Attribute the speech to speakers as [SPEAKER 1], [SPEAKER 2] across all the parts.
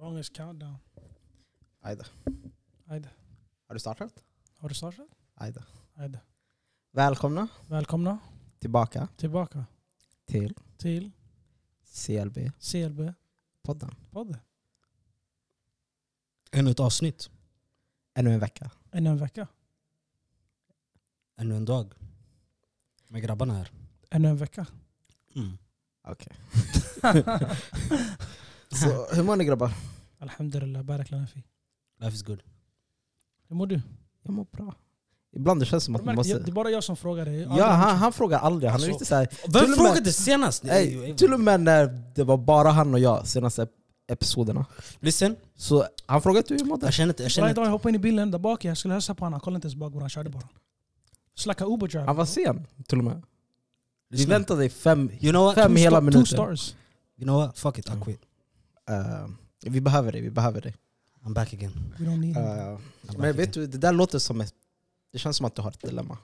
[SPEAKER 1] Longest countdown.
[SPEAKER 2] Aj då.
[SPEAKER 1] Ajde.
[SPEAKER 2] Har du startat?
[SPEAKER 1] Har du startat?
[SPEAKER 2] Aj då.
[SPEAKER 1] Ajde.
[SPEAKER 2] Välkomna
[SPEAKER 1] Välkomna
[SPEAKER 2] tillbaka
[SPEAKER 1] tillbaka
[SPEAKER 2] till
[SPEAKER 1] till
[SPEAKER 2] CLB-podden.
[SPEAKER 1] CLB-podden.
[SPEAKER 3] Ännu ett avsnitt.
[SPEAKER 2] Ännu en vecka.
[SPEAKER 1] Ännu en vecka.
[SPEAKER 3] Ännu en dag. Med grabbarna här.
[SPEAKER 1] Ännu en vecka.
[SPEAKER 2] Mm. Så hur mår ni grabbar?
[SPEAKER 1] Alhamdulillah, barakallahu fi.
[SPEAKER 3] Life is good.
[SPEAKER 1] Hur mår du?
[SPEAKER 2] Jag mår bra. Ibland det känns som att
[SPEAKER 1] De
[SPEAKER 2] man
[SPEAKER 1] märker-
[SPEAKER 2] måste...
[SPEAKER 1] Det är bara jag som frågar dig.
[SPEAKER 2] Ja, han, han frågar aldrig. Han är
[SPEAKER 3] Alltså,
[SPEAKER 2] riktigt såhär...
[SPEAKER 3] Vem
[SPEAKER 2] Till och med-
[SPEAKER 3] frågade senast?
[SPEAKER 2] Ey, till och med när det var bara han och jag senaste ep- episoderna.
[SPEAKER 3] Listen,
[SPEAKER 2] Så han frågade hur jag mådde.
[SPEAKER 3] jag känner inte... Jag känner
[SPEAKER 1] Varje dag
[SPEAKER 3] inte.
[SPEAKER 1] jag hoppade in i bilen där bak, jag skulle hälsa på honom. Han kollade inte ens bakbord, han körde bara. Slacka Uber driver.
[SPEAKER 2] Han var sen till och med. Vi
[SPEAKER 3] Lyssna.
[SPEAKER 2] väntade i fem,
[SPEAKER 3] You know what?
[SPEAKER 2] fem hela
[SPEAKER 1] Two
[SPEAKER 2] minuter.
[SPEAKER 1] stars.
[SPEAKER 3] You know what? Fuck it, I quit.
[SPEAKER 2] Eh, vi behöver dig, vi behöver dig.
[SPEAKER 3] I'm back again.
[SPEAKER 1] We don't need it.
[SPEAKER 2] Eh,
[SPEAKER 3] I'm back
[SPEAKER 2] men
[SPEAKER 3] again.
[SPEAKER 2] vet du, det där låter som ett... Det känns som att du har ett dilemma.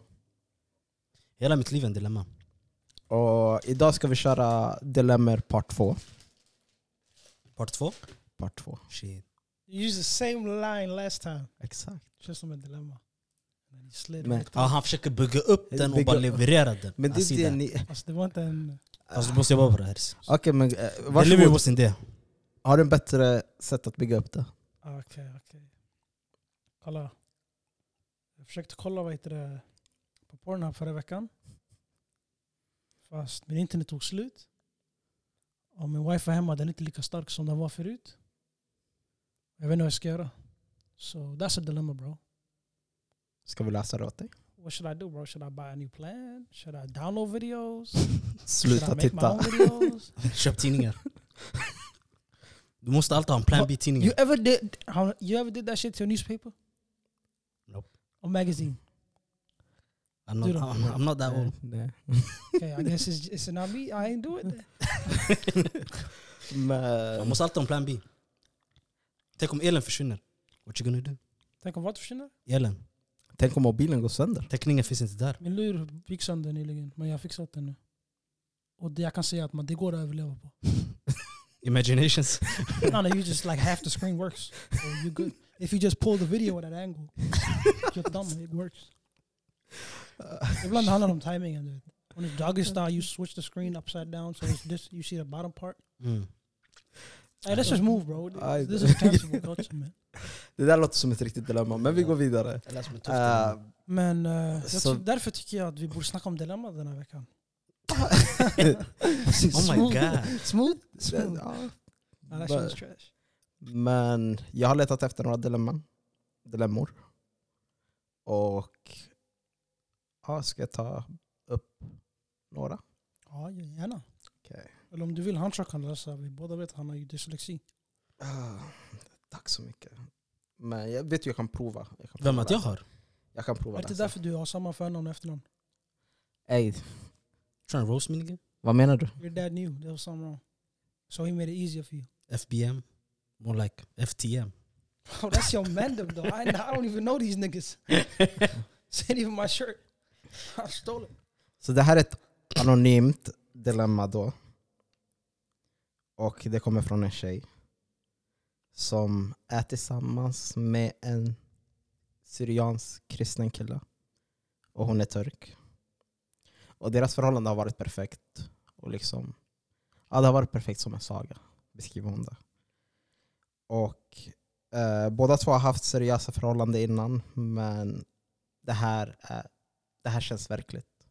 [SPEAKER 3] Hela mitt liv är en dilemma.
[SPEAKER 2] Och idag ska vi köra Dilemmer part 2.
[SPEAKER 3] Part två.
[SPEAKER 2] Part 2.
[SPEAKER 3] Shit.
[SPEAKER 1] You used the same line last time.
[SPEAKER 2] Exakt.
[SPEAKER 1] Känns som ett dilemma. Men you slid
[SPEAKER 2] Men-
[SPEAKER 1] right
[SPEAKER 3] Ja, han försöker bygga upp den och bara
[SPEAKER 2] Bygga-
[SPEAKER 3] leverera den.
[SPEAKER 2] Men det
[SPEAKER 3] Jag ser
[SPEAKER 2] är det ni...
[SPEAKER 1] Alltså det var inte en...
[SPEAKER 3] Alltså, du måste jobba på det här.
[SPEAKER 2] Okej men eh,
[SPEAKER 3] Jag lever ju
[SPEAKER 2] varsågod.
[SPEAKER 3] på sin idé.
[SPEAKER 2] Har du en bättre sätt att bygga upp det?
[SPEAKER 1] Okej, Ah, okej. Kolla. Jag försökte kolla vad heter det, på Pornhub förra veckan. Fast min internet tog slut. Och min wifi hemma den är inte lika stark som den var förut. Jag vet inte vad jag ska göra. So that's a dilemma bro.
[SPEAKER 2] Ska vi läsa det åt dig?
[SPEAKER 1] What should I do bro? Should I buy a new plan? Should I download videos?
[SPEAKER 2] Sluta
[SPEAKER 1] should I make my
[SPEAKER 2] titta.
[SPEAKER 1] own videos?
[SPEAKER 3] Köp tidningar. Du måste alltid ha en plan B-tidningar.
[SPEAKER 1] you ever did how, you ever did that shit to a newspaper?
[SPEAKER 3] Nope.
[SPEAKER 1] Or magazine?
[SPEAKER 3] I'm not,
[SPEAKER 1] do det.
[SPEAKER 3] I'm, I'm not that old.
[SPEAKER 2] Nej.
[SPEAKER 1] Okay, I guess it's, it's not me. I ain't do it.
[SPEAKER 3] Man
[SPEAKER 2] Men...
[SPEAKER 3] måste alltid ha en plan B. Tänk om elen försvinner. What you gonna do?
[SPEAKER 1] Tänk om vad försvinner?
[SPEAKER 3] Elen.
[SPEAKER 2] Tänk om mobilen går sönder?
[SPEAKER 3] Täckningen finns inte där.
[SPEAKER 1] Min lur gick sönder nyligen, men jag har fixat den nu. Och det, jag kan säga att man, det går att överleva på.
[SPEAKER 3] Imaginations.
[SPEAKER 1] no, no, you just like half the screen works. So you're good. If you just pull the video at an angle, you're dumb, it works. Ibland handlar det om tajmingen. du vet. When it's doggy style you switch the screen upside down so it's just, you see the bottom part.
[SPEAKER 3] Mm.
[SPEAKER 1] Hey, let's just move bro.
[SPEAKER 2] Aj,
[SPEAKER 1] This is cancelable culture man.
[SPEAKER 2] Det där låter som ett riktigt dilemma, men vi går vidare.
[SPEAKER 3] Det lät som en tuff
[SPEAKER 1] آه،
[SPEAKER 2] Eh,
[SPEAKER 1] Men eh, jag
[SPEAKER 2] Så-
[SPEAKER 1] ty- därför tycker jag att vi borde snacka om dilemma den här veckan.
[SPEAKER 3] Oh my god.
[SPEAKER 1] Smooth? Smooth.
[SPEAKER 2] ja.
[SPEAKER 1] Ah, that shit was trash.
[SPEAKER 2] Men jag har letat efter några dilemman. Dilemmor. Och ja, ska jag ta upp några?
[SPEAKER 1] Oh, Ja, gärna.
[SPEAKER 2] Okej.
[SPEAKER 1] Eller om du vill, han tror jag kan läsa. Vi båda vet att han har ju dyslexi.
[SPEAKER 2] Ah, tack så mycket. Men jag vet ju, jag kan prova. Jag kan
[SPEAKER 3] Vem
[SPEAKER 2] prova
[SPEAKER 3] att jag
[SPEAKER 2] läsa.
[SPEAKER 3] har?
[SPEAKER 2] Jag kan prova
[SPEAKER 1] Är det inte
[SPEAKER 2] läsa.
[SPEAKER 1] därför du har samma förnamn och efternamn?
[SPEAKER 2] Ey,
[SPEAKER 3] Trying to roast me again?
[SPEAKER 2] vad menar du?
[SPEAKER 1] Your dad knew there was something wrong. So he made it easier for you.
[SPEAKER 3] FBM? More like FTM.
[SPEAKER 1] Oh, that's your mandem though. I, I don't even know these niggas. It's not even my shirt. I stole it.
[SPEAKER 2] Så det här är ett anonymt dilemma då. Och det kommer från en tjej som är tillsammans med en syriansk kristen kille. Och hon är turk. Och deras förhållande har varit perfekt. Och liksom, ja, det har varit perfekt som en saga, beskriver hon det. Och eh, båda två har haft seriösa förhållanden innan, men det här, är, det här känns verkligt.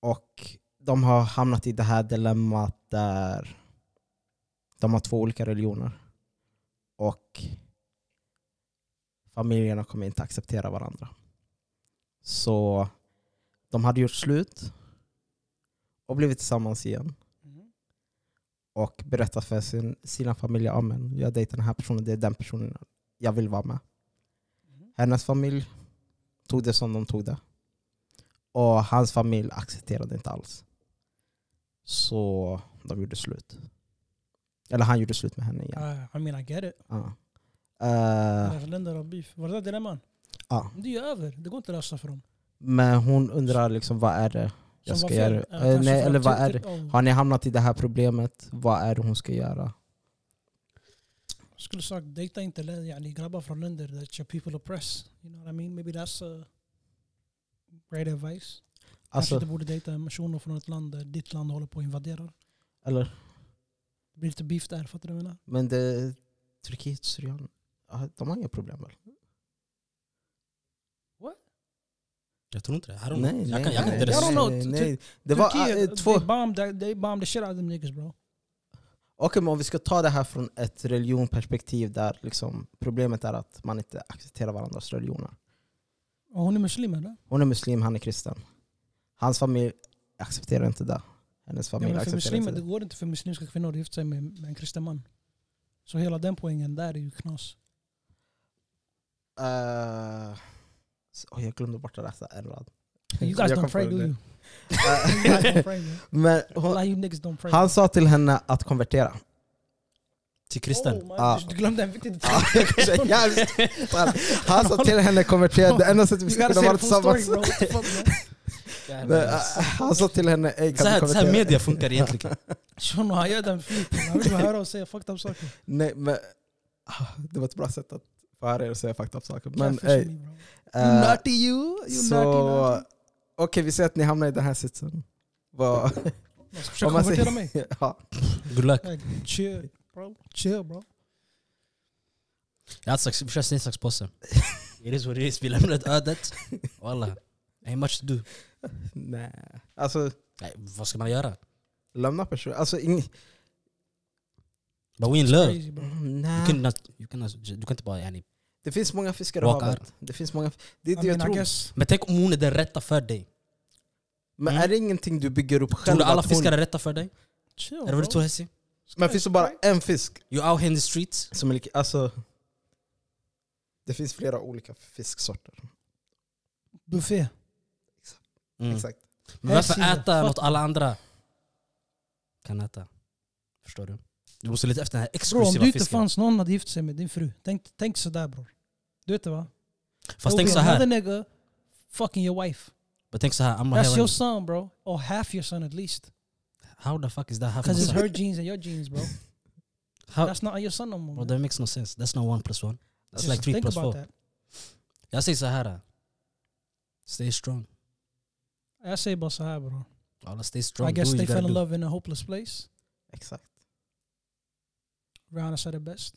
[SPEAKER 2] Och de har hamnat i det här dilemmat där de har två olika religioner. Och familjerna kommer inte acceptera varandra. Så de hade gjort slut och blivit tillsammans igen. Mm-hmm. Och berättat för sin, sina familjer, ja men jag dejtar den här personen, det är den personen jag vill vara med.
[SPEAKER 1] Mhm.
[SPEAKER 2] Hennes familj tog det som de tog det. Och hans familj accepterade inte alls. Så de gjorde slut. Eller han gjorde slut med henne igen.
[SPEAKER 1] I, I mean I get it.
[SPEAKER 2] Ja. Eh,
[SPEAKER 1] Deras länder har beef. Var det där dilemman?
[SPEAKER 2] ja.
[SPEAKER 1] Men Det är ju över. Det går inte att lösa för dem.
[SPEAKER 2] Men hon undrar liksom vad är det jag
[SPEAKER 1] Som
[SPEAKER 2] ska
[SPEAKER 1] var fel.
[SPEAKER 2] göra?
[SPEAKER 1] Ja,
[SPEAKER 2] Eh,
[SPEAKER 1] kanske
[SPEAKER 2] nej,
[SPEAKER 1] för
[SPEAKER 2] eller
[SPEAKER 1] att typ-
[SPEAKER 2] vad
[SPEAKER 1] ty-
[SPEAKER 2] är
[SPEAKER 1] ty-
[SPEAKER 2] det?
[SPEAKER 1] oh.
[SPEAKER 2] Har ni hamnat i det här problemet? Vad är det hon ska göra?
[SPEAKER 1] skulle sagt dejta inte lä- yani, grabbar från länder that your people oppress. You know what I mean? Maybe that's uh, great advice. Kanske
[SPEAKER 2] Alltså,
[SPEAKER 1] du borde dejta en person från ett land där ditt land håller på att invadera.
[SPEAKER 2] eller,
[SPEAKER 1] Det blir lite beef där, fattar du vad jag menar?
[SPEAKER 2] men det, Turkiet, Syrien, ja, de har inga problem väl?
[SPEAKER 3] Jag tror inte det. I don't
[SPEAKER 2] Nej,
[SPEAKER 3] know.
[SPEAKER 2] nej,
[SPEAKER 3] jag kan, jag kan
[SPEAKER 2] nej,
[SPEAKER 3] inte
[SPEAKER 1] Jag
[SPEAKER 3] ens...
[SPEAKER 1] don't know.
[SPEAKER 2] nej,
[SPEAKER 1] Tur-
[SPEAKER 2] nej. Det var
[SPEAKER 1] Turkiet,
[SPEAKER 2] eh, två...
[SPEAKER 1] They bombed, that- they bombed the shit out of them niggas bro.
[SPEAKER 2] Okej, men om vi ska ta det här från ett religionperspektiv där liksom problemet är att man inte accepterar varandras religioner.
[SPEAKER 1] Och hon är muslim eller?
[SPEAKER 2] Hon är muslim, han är kristen. Hans familj accepterar inte det. Hennes
[SPEAKER 1] Ja,
[SPEAKER 2] familj
[SPEAKER 1] men för
[SPEAKER 2] accepterar
[SPEAKER 1] muslimer,
[SPEAKER 2] inte
[SPEAKER 1] det
[SPEAKER 2] det.
[SPEAKER 1] går inte för muslimska kvinnor att gifta sig med, med en kristen man. Så hela den poängen där är ju knas.
[SPEAKER 2] Eh, s- oj, jag glömde bort att läsa en rad.
[SPEAKER 1] You
[SPEAKER 2] Jag
[SPEAKER 1] guys
[SPEAKER 2] kom
[SPEAKER 1] don't
[SPEAKER 2] på
[SPEAKER 1] pray
[SPEAKER 2] det
[SPEAKER 1] do
[SPEAKER 2] nu.
[SPEAKER 1] you?
[SPEAKER 2] Eh,
[SPEAKER 1] You guys don't pray, man.
[SPEAKER 2] men hon,
[SPEAKER 1] Alla you niggas don't pray. Oh
[SPEAKER 2] han sa till henne att konvertera.
[SPEAKER 3] Till kristen.
[SPEAKER 1] Oh, man,
[SPEAKER 2] Ah.
[SPEAKER 1] Du glömde en viktig
[SPEAKER 2] Ja,
[SPEAKER 1] detalj.
[SPEAKER 2] jag kanske är jävligt fan. Han sa till henne konvertera, det enda sättet vi
[SPEAKER 1] You
[SPEAKER 2] skulle
[SPEAKER 1] gotta
[SPEAKER 2] kunna
[SPEAKER 1] say
[SPEAKER 2] vara
[SPEAKER 1] the full story
[SPEAKER 2] tillsammans.
[SPEAKER 1] bro. What the fuck, man?
[SPEAKER 2] Men, eh, Han sa till henne, "Ey,
[SPEAKER 3] Så
[SPEAKER 2] kan du
[SPEAKER 3] här, så här
[SPEAKER 2] konvertera?
[SPEAKER 3] uh, media funkar egentligen.
[SPEAKER 1] Shuno, han gör den flipen. Han vill bara höra och säga fucked up saker.
[SPEAKER 2] Nej, men ah, det var ett bra sätt att få höra er säga fucked up saker. Men
[SPEAKER 1] Catfish
[SPEAKER 2] ey,
[SPEAKER 1] me, bro.
[SPEAKER 2] eh,
[SPEAKER 1] You naughty you, you
[SPEAKER 2] så...
[SPEAKER 1] naughty
[SPEAKER 2] Okej,
[SPEAKER 1] naughty.
[SPEAKER 2] vi säger att ni hamnar i den här sitsen. Vad...
[SPEAKER 1] Jag ska försöka
[SPEAKER 2] om man
[SPEAKER 1] konvertera
[SPEAKER 2] säger-
[SPEAKER 1] mig.
[SPEAKER 2] ja.
[SPEAKER 3] Good luck.
[SPEAKER 1] Like, Chill bro. Chill bro.
[SPEAKER 3] Jag hade sagt, brorsan säg saxpåse. It is what it is. Vi lämnade ödet. Walla. Ain't much to do.
[SPEAKER 2] Nej. Alltså,
[SPEAKER 3] Nej, vad ska man göra?
[SPEAKER 2] lämna personen. Alltså, ing...
[SPEAKER 3] But we in love.
[SPEAKER 1] Crazy bro.
[SPEAKER 3] You
[SPEAKER 2] Nej.
[SPEAKER 3] can not, you can not, du kan inte bara yani.
[SPEAKER 2] Det finns många fiskar i
[SPEAKER 3] Walk
[SPEAKER 2] havet. Det finns många... Det
[SPEAKER 1] I
[SPEAKER 2] är det jag
[SPEAKER 1] mean, I
[SPEAKER 2] tror.
[SPEAKER 1] guess
[SPEAKER 3] Men tänk om hon är den rätta för dig.
[SPEAKER 2] Men
[SPEAKER 3] Mm.
[SPEAKER 2] är det ingenting du bygger upp
[SPEAKER 3] Tror
[SPEAKER 2] själv?
[SPEAKER 3] du alla
[SPEAKER 2] att hon-
[SPEAKER 3] fiskar är rätta för dig?
[SPEAKER 1] chill
[SPEAKER 3] Är det vad du
[SPEAKER 1] bro.
[SPEAKER 3] tror Hessi?
[SPEAKER 2] Men finns det bara en fisk?
[SPEAKER 3] You're out here in the streets.
[SPEAKER 2] Som är lika... Alltså... Det finns flera olika fisksorter.
[SPEAKER 1] Buffé.
[SPEAKER 3] Mm.
[SPEAKER 2] Exakt.
[SPEAKER 3] Men varför
[SPEAKER 1] Hessi,
[SPEAKER 3] äta
[SPEAKER 1] fuck.
[SPEAKER 3] något alla andra kan äta? Förstår du? Du måste leta efter den här
[SPEAKER 1] Bro, om
[SPEAKER 3] exklusiva
[SPEAKER 1] du inte
[SPEAKER 3] fisken.
[SPEAKER 1] fanns någon hade gift sig med din fru. Tänk, tänk sådär bror. Du vet det va?
[SPEAKER 3] Fast
[SPEAKER 1] There'll
[SPEAKER 3] tänk
[SPEAKER 1] be
[SPEAKER 3] så här.
[SPEAKER 1] Another nigga fucking your wife.
[SPEAKER 3] Men tänk så här. I'm
[SPEAKER 1] That's
[SPEAKER 3] here
[SPEAKER 1] your
[SPEAKER 3] and,
[SPEAKER 1] son bro. Or half your son at least.
[SPEAKER 3] how the fuck is that
[SPEAKER 1] Because it's
[SPEAKER 3] happening?
[SPEAKER 1] her genes and your genes bro.
[SPEAKER 3] How,
[SPEAKER 1] That's not your son no more.
[SPEAKER 3] bro,
[SPEAKER 1] man.
[SPEAKER 3] that makes no sense. That's not one plus one. That's
[SPEAKER 1] Just
[SPEAKER 3] like three
[SPEAKER 1] think
[SPEAKER 3] plus
[SPEAKER 1] about
[SPEAKER 3] four.
[SPEAKER 1] that.
[SPEAKER 3] Jag säger så här. Stay strong.
[SPEAKER 1] Jag säger bara såhär bror.
[SPEAKER 3] Alla stay strong.
[SPEAKER 1] I guess
[SPEAKER 3] Do what
[SPEAKER 1] they
[SPEAKER 3] you gotta
[SPEAKER 1] fell in
[SPEAKER 3] do.
[SPEAKER 1] love in a hopeless place.
[SPEAKER 2] Exakt.
[SPEAKER 1] Rihanna said it best.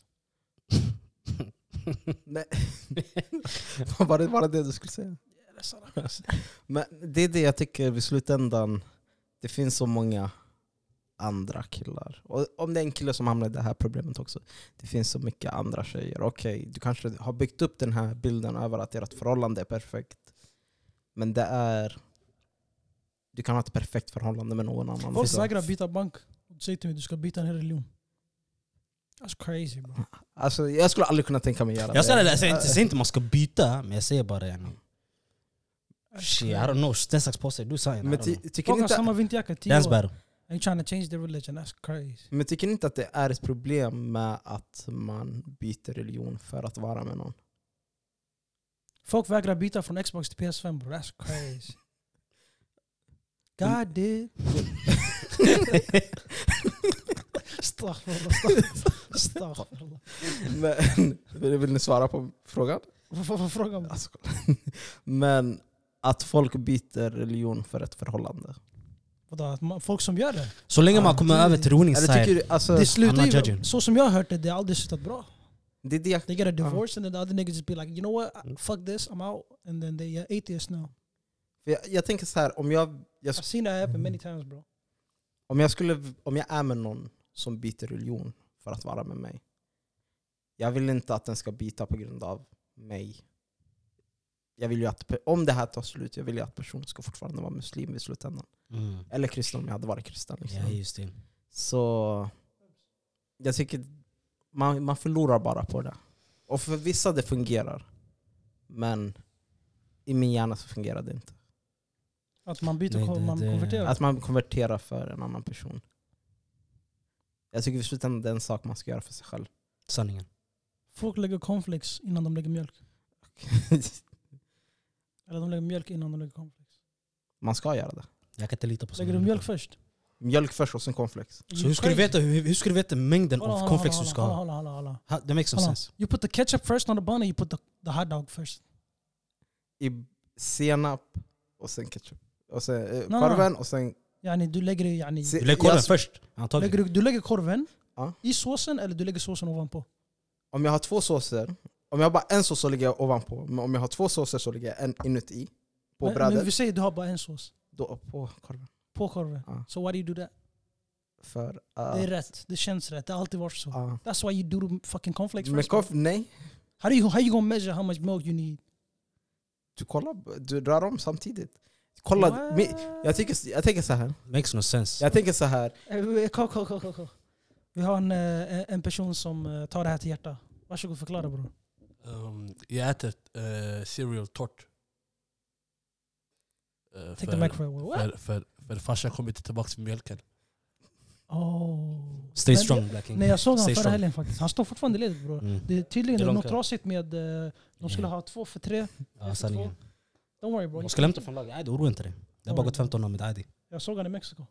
[SPEAKER 2] Nej. var det bara det du skulle säga?
[SPEAKER 1] That's all I
[SPEAKER 2] Men det är det jag tycker i slutändan. Det finns så många andra killar. Och om det är en kille som hamnar i det här problemet också. Det finns så mycket andra tjejer. Okej, du kanske har byggt upp den här bilden över att ert förhållande är perfekt. Men det är... Du kan ha ett perfekt förhållande med någon annan. Liksom.
[SPEAKER 1] Folk vägrar byta bank. Du säger till mig du ska byta en hel religion. That's crazy bro.
[SPEAKER 2] Alltså, jag skulle aldrig kunna tänka mig att göra
[SPEAKER 3] Jag säger,
[SPEAKER 2] det.
[SPEAKER 3] det, jag säger inte, jag säger inte man ska byta, men jag säger bara yani.
[SPEAKER 1] That's
[SPEAKER 3] Shit, I
[SPEAKER 1] crazy.
[SPEAKER 3] don't know. Sten, sax, påse. Du sa
[SPEAKER 2] Men,
[SPEAKER 3] ju.
[SPEAKER 2] ty, tycker
[SPEAKER 1] Folk
[SPEAKER 2] ni
[SPEAKER 1] har
[SPEAKER 2] inte
[SPEAKER 1] samma vinterjacka i tio
[SPEAKER 3] That's
[SPEAKER 1] år.
[SPEAKER 3] better.
[SPEAKER 1] And you're trying to change the religion. That's crazy.
[SPEAKER 2] Men tycker ni inte att det är ett problem med att man byter religion för att vara med någon?
[SPEAKER 1] Folk vägrar byta från Xbox till PS5 bro. That's crazy. God did. Astaghfirullah. astaghfirullah, Astaghfirullah.
[SPEAKER 2] Men, vill vill ni svara på frågan?
[SPEAKER 1] Varför frågar man?
[SPEAKER 2] Alltså, Men att folk byter religion för ett förhållande.
[SPEAKER 1] Vadå, att man- Folk som gör det?
[SPEAKER 3] Så länge man
[SPEAKER 2] Ah,
[SPEAKER 3] kommer över till roning
[SPEAKER 2] Eller tycker
[SPEAKER 3] side.
[SPEAKER 2] du, alltså,
[SPEAKER 1] Det
[SPEAKER 3] Eh, I'm
[SPEAKER 1] slutar
[SPEAKER 3] not
[SPEAKER 1] ju,
[SPEAKER 3] judging. Ah.
[SPEAKER 1] så som jag har hört det, det har aldrig slutat bra.
[SPEAKER 2] det är det jag,
[SPEAKER 1] They get a divorce and then the other niggas just be like, you know what, I- fuck this, I'm out. And then they are atheists now.
[SPEAKER 2] för jag, jag tänker så här, om jag, jag,
[SPEAKER 1] I've seen that happen many times bro.
[SPEAKER 2] om, jag skulle, om jag är med någon som byter religion för att vara med mig. Jag vill inte att den ska byta på grund av mig. Jag vill ju att, pe- om det här tar slut, jag vill ju att personen ska fortfarande vara muslim i slutändan.
[SPEAKER 3] Mm.
[SPEAKER 2] Eller kristen om jag hade varit kristen. Liksom.
[SPEAKER 3] Ja, just det.
[SPEAKER 2] Så jag tycker man, man förlorar bara på det. Och för vissa det fungerar. Men i min hjärna så fungerar det inte.
[SPEAKER 1] Att man byter,
[SPEAKER 3] Nej,
[SPEAKER 1] ko-
[SPEAKER 3] det-
[SPEAKER 1] man
[SPEAKER 3] det-
[SPEAKER 1] konverterar.
[SPEAKER 2] Att man konverterar för en annan person. Jag tycker i slutändan det är en sak man ska göra för sig själv.
[SPEAKER 3] Sanningen.
[SPEAKER 1] Folk lägger cornflakes innan de lägger mjölk. Eller de lägger mjölk innan de lägger cornflakes.
[SPEAKER 2] man ska göra det.
[SPEAKER 3] Jag kan inte lita på
[SPEAKER 1] Lägger du mjölk först?
[SPEAKER 2] Mjölk först och sen cornflakes.
[SPEAKER 3] Så hur ska du veta, hur, hur ska du veta mängden
[SPEAKER 1] Hold on,
[SPEAKER 3] av
[SPEAKER 1] hold on,
[SPEAKER 3] cornflakes du
[SPEAKER 1] hold on,
[SPEAKER 3] ska
[SPEAKER 1] hold on,
[SPEAKER 3] ha?
[SPEAKER 1] hold on, hold on, hold on.
[SPEAKER 3] Ha, That makes some
[SPEAKER 1] Hold on.
[SPEAKER 3] sense.
[SPEAKER 1] You put the ketchup first on the bun or you put the, the hot dog first?
[SPEAKER 2] I senap och sen ketchup. Och sen eh,
[SPEAKER 1] no,
[SPEAKER 2] korven och sen...
[SPEAKER 1] يعني du lägger det يعني
[SPEAKER 2] Se-
[SPEAKER 3] Du lägger korven
[SPEAKER 2] jag-
[SPEAKER 3] först,
[SPEAKER 1] lägger
[SPEAKER 3] antagligen.
[SPEAKER 1] du, du lägger korven
[SPEAKER 2] Ja.
[SPEAKER 1] i såsen eller du lägger såsen ovanpå?
[SPEAKER 2] Om jag har två såser, om jag har bara en sås så ligger jag ovanpå. Men om jag har två såser så ligger jag en inuti. På
[SPEAKER 1] men,
[SPEAKER 2] brödet,
[SPEAKER 1] men vi säger du har bara en sås
[SPEAKER 2] då på korven.
[SPEAKER 1] på korven.
[SPEAKER 2] Ja.
[SPEAKER 1] So why do you do that?
[SPEAKER 2] För...
[SPEAKER 1] Det
[SPEAKER 2] Uh,
[SPEAKER 1] är rätt, det känns rätt, det har alltid varit så.
[SPEAKER 2] uh.
[SPEAKER 1] That's why you do the fucking cornflakes
[SPEAKER 2] Men
[SPEAKER 1] first.
[SPEAKER 2] korv, nej.
[SPEAKER 1] How do you how you gonna measure how much milk you need?
[SPEAKER 2] Du kollar, du drar om samtidigt. Kolla, mi, jag, tycker, jag tänker så här.
[SPEAKER 3] Makes no sense.
[SPEAKER 2] Jag tänker så här.
[SPEAKER 1] Eh, Kom, kom, kom, kom, kom. Vi har en, eh, en person som eh, tar det här till hjärta. Varsågod förklara bror.
[SPEAKER 4] Um, jag äter eh, cereal torrt. Eh,
[SPEAKER 1] Take the microwave. What?
[SPEAKER 4] för, för, för farsan kommer inte tillbaka till mjölken.
[SPEAKER 1] Oh.
[SPEAKER 3] Stay
[SPEAKER 1] Men-
[SPEAKER 3] strong, Black King.
[SPEAKER 1] Nej jag såg honom
[SPEAKER 3] Stay
[SPEAKER 1] förra
[SPEAKER 3] strong.
[SPEAKER 1] helgen faktiskt. Han står fortfarande ledigt bror.
[SPEAKER 3] Mm.
[SPEAKER 1] Det är tydligen
[SPEAKER 3] Det
[SPEAKER 1] det
[SPEAKER 3] är
[SPEAKER 1] är
[SPEAKER 3] långt
[SPEAKER 1] något
[SPEAKER 3] kvar.
[SPEAKER 1] trasigt med... eh, De skulle ha två för tre.
[SPEAKER 3] Ja, sanningen.
[SPEAKER 1] Don't worry bro.
[SPEAKER 3] De ska hämta från laget. Nej, oroa inte dig. Det har bara gått 15 år med Adi.
[SPEAKER 1] Jag såg honom i Mexiko.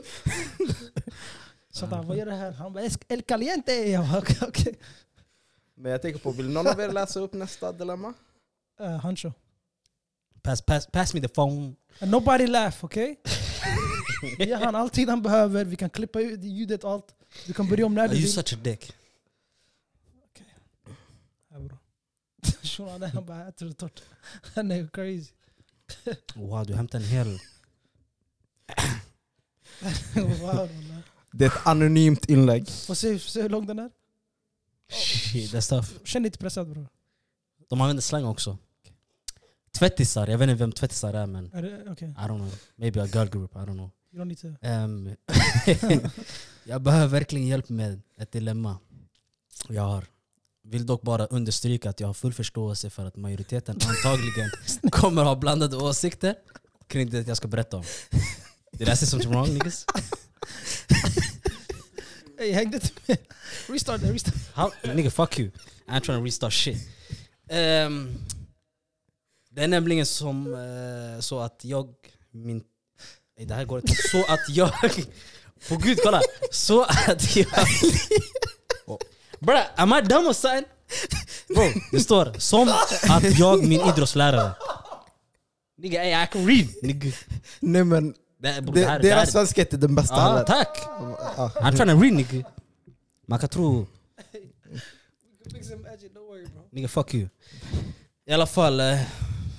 [SPEAKER 1] Så där, vad gör det här? Han bara "Es- El Caliente! Jag bara okej. Okay.
[SPEAKER 2] Men jag tänker på, vill någon av er läsa upp nästa dilemma?
[SPEAKER 1] Hancho.
[SPEAKER 3] Pass, pass, pass me the phone.
[SPEAKER 1] And nobody laugh, okej? Ge han all tid han behöver, vi kan klippa ut ljudet och allt. Du kan börja om när
[SPEAKER 3] Are
[SPEAKER 1] du
[SPEAKER 3] you
[SPEAKER 1] vill.
[SPEAKER 3] such a dick?
[SPEAKER 1] Ja, bro. Shunon, han bara äter det torrt. Han är crazy.
[SPEAKER 3] Wow, du hämtar en hel...
[SPEAKER 1] wow, wallah.
[SPEAKER 2] Det är ett anonymt inlägg.
[SPEAKER 1] Får se, får se hur lång den är.
[SPEAKER 3] Shit, that's tough.
[SPEAKER 1] Känn dig inte pressad bror.
[SPEAKER 3] De använder slang också. Tvättisar, jag vet inte vem tvättisar är men
[SPEAKER 1] Är det- Okej,
[SPEAKER 3] I don't know. Maybe a girl group, I don't know.
[SPEAKER 1] you don't need to...
[SPEAKER 3] Ehm, jag behöver verkligen hjälp med ett dilemma jag har. Vill dock bara understryka att jag har full förståelse för att majoriteten antagligen kommer ha blandade åsikter kring det jag ska berätta om. Did I say something wrong niggas?
[SPEAKER 1] Ey, hängde inte med. Restart det, restart.
[SPEAKER 3] How? Nigga fuck you. I ain't trying to restart shit. Ehm, det är nämligen som eh, så att jag... Min, eh, nej, det här går inte. Så att jag... På gud kolla! Så att jag... Oh. Bra, am I dumb or something? Bro, det står som att jag, min idrottslärare... Nigga, ey, I can read! Nigga.
[SPEAKER 2] Nej men,
[SPEAKER 3] Det, bro, det,
[SPEAKER 2] de,
[SPEAKER 3] här, det här,
[SPEAKER 2] deras svenska är inte den bästa
[SPEAKER 3] ah,
[SPEAKER 2] heller.
[SPEAKER 3] tack!
[SPEAKER 2] Ja.
[SPEAKER 3] I'm trying to read nigga. Man kan tro... Nigga fuck you. I alla fall, eh,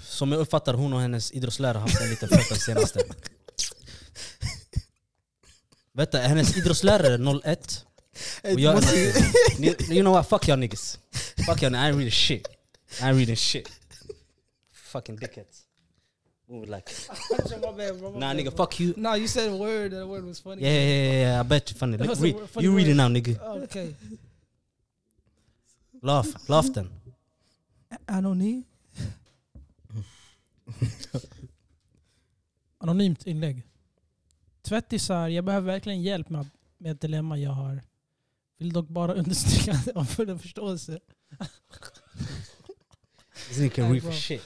[SPEAKER 3] som jag uppfattar hon och hennes idrottslärare har haft en liten flört den senaste. Vänta, är hennes idrottslärare är 01? Och jag är 01. Ni- You know what, fuck y'all niggas. Fuck y'all, I ain't reading shit. I ain't reading shit. Fucking dickheads. Move like... Nah nigga, fuck you.
[SPEAKER 1] Nah, you said a word and the word was funny.
[SPEAKER 3] Yeah, yeah, yeah, yeah, I bet you funny.
[SPEAKER 1] That
[SPEAKER 3] Like,
[SPEAKER 1] was a
[SPEAKER 3] read,
[SPEAKER 1] word- funny
[SPEAKER 3] you read it
[SPEAKER 1] word.
[SPEAKER 3] now nigga.
[SPEAKER 1] Okay.
[SPEAKER 3] Laugh, laugh then.
[SPEAKER 1] Anonym. Anonymt inlägg. Tvättisar, jag behöver verkligen hjälp med, med ett dilemma jag har. Vill dock bara understryka att jag har full förståelse.
[SPEAKER 3] This nigga can
[SPEAKER 1] Hey,
[SPEAKER 3] read for
[SPEAKER 1] bro.
[SPEAKER 3] shit.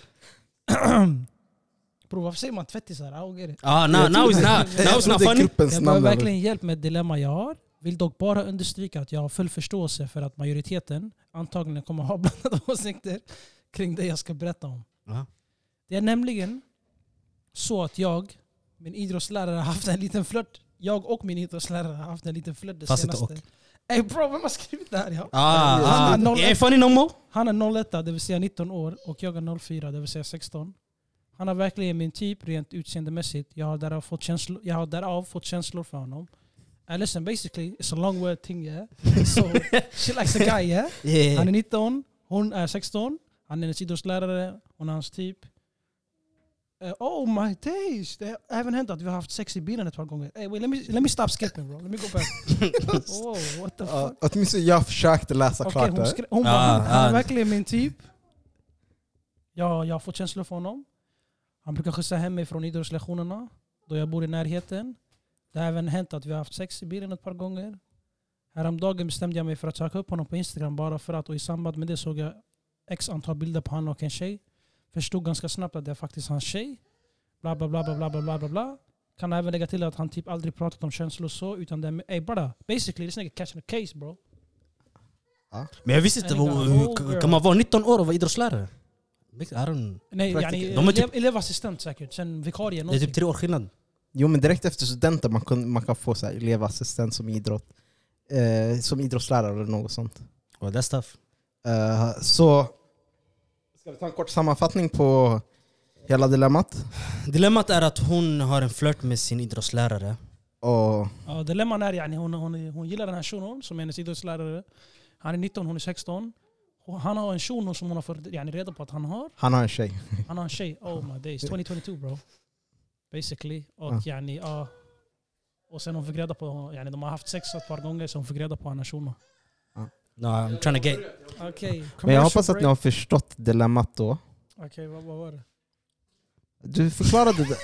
[SPEAKER 1] Bro, varför säger man tvättisar? I don't get it.
[SPEAKER 3] Ah, now,
[SPEAKER 2] Jag
[SPEAKER 3] now
[SPEAKER 2] tror
[SPEAKER 3] it's
[SPEAKER 2] det-
[SPEAKER 3] not,
[SPEAKER 2] jag
[SPEAKER 3] now
[SPEAKER 2] tror
[SPEAKER 3] it's not
[SPEAKER 2] det är
[SPEAKER 3] funny.
[SPEAKER 2] Gruppens
[SPEAKER 1] Jag
[SPEAKER 2] namn
[SPEAKER 1] behöver
[SPEAKER 2] eller-
[SPEAKER 1] verkligen hjälp med ett dilemma jag har. Vill dock bara understryka att jag har full förståelse för att majoriteten antagligen kommer ha blandade åsikter kring det jag ska berätta om.
[SPEAKER 3] Ja.
[SPEAKER 1] Det är nämligen så att jag, min idrottslärare, har haft en liten flört. Jag och min idrottslärare har haft en liten flört det
[SPEAKER 3] Fast inte
[SPEAKER 1] senaste. Ey bro, vem har skrivit det Alltså, här? Ja?
[SPEAKER 3] Ah, ah,
[SPEAKER 1] Han är
[SPEAKER 3] it ain't funny no more.
[SPEAKER 1] Han är 01, det vill säga 19 år, och jag är 04, det vill säga 16. Han är verkligen min typ rent utseendemässigt. Jag har därav fått känslor, jag har därav fått känslor för honom. And listen, basically, it's a long word thing yeah. So, she likes a guy yeah. Han är 19, hon är 16, han är hennes idrottslärare, hon är hans typ. Eh, oh my days! Det har även hänt att vi har haft sex i bilen ett par gånger. Hey, wait, let, me, let me stop skipping bro, let me go back. Whoa, what the fuck?
[SPEAKER 2] Ja, Åtminstone jag försökte läsa
[SPEAKER 1] Okej,
[SPEAKER 2] klart
[SPEAKER 1] hon,
[SPEAKER 2] det.
[SPEAKER 1] skre- hon bara,
[SPEAKER 3] Ja,
[SPEAKER 1] han, han är
[SPEAKER 3] ja.
[SPEAKER 1] verkligen min typ. Ja, jag har fått känslor för honom. Han brukar skjutsa hem mig från idrottslektionerna då jag bor i närheten. Det har även hänt att vi har haft sex i bilen ett par gånger. Häromdagen bestämde jag mig för att söka upp honom på Instagram bara för att och i samband med det såg jag x antal bilder på honom och en tjej. Förstod ganska snabbt att det är faktiskt hans tjej. Bla bla bla bla bla bla bla bla bla. Kan även lägga till att han typ aldrig pratat om känslor och så utan det är ey bara basically this nigga catching a case bro.
[SPEAKER 3] Men jag visste inte,
[SPEAKER 1] Nigga,
[SPEAKER 3] hur, hur,
[SPEAKER 1] girl.
[SPEAKER 3] kan man vara 19 år och vara idrottslärare? I don't,
[SPEAKER 1] Nej,
[SPEAKER 2] Praktiker.
[SPEAKER 1] yani,
[SPEAKER 3] De är typ-
[SPEAKER 1] elev- elevassistent säkert. Sen vikarie
[SPEAKER 3] det är
[SPEAKER 1] någonting.
[SPEAKER 3] typ tre år skillnad.
[SPEAKER 2] Jo men direkt efter studenten man kan, man kan få så här, elevassistent som, idrott, eh, som idrottslärare eller något sånt.
[SPEAKER 3] Well, that's tough.
[SPEAKER 2] Eh, så ska vi ta en kort sammanfattning på hela dilemmat?
[SPEAKER 3] Dilemmat är att hon har en flört med sin idrottslärare.
[SPEAKER 2] Och
[SPEAKER 1] Ja, dilemman är yani, hon, hon, hon gillar den här shunon som är hennes idrottslärare. Han är 19, hon är 16. Och han har en shuno som hon har fått yani, reda på att han har.
[SPEAKER 2] han har en tjej.
[SPEAKER 1] Han har en tjej. Oh my days. 2022 bro. Basically. Och
[SPEAKER 2] Ja.
[SPEAKER 1] yani, ja. Och sen hon fick reda på, yani, de har haft sex ett par gånger så hon fick reda på att han är shuno.
[SPEAKER 3] No, I'm trying to get...
[SPEAKER 1] Okej.
[SPEAKER 2] Men jag hoppas att ni har förstått dilemmat då.
[SPEAKER 1] Okej, vad, vad var det?
[SPEAKER 2] Du förklarade det.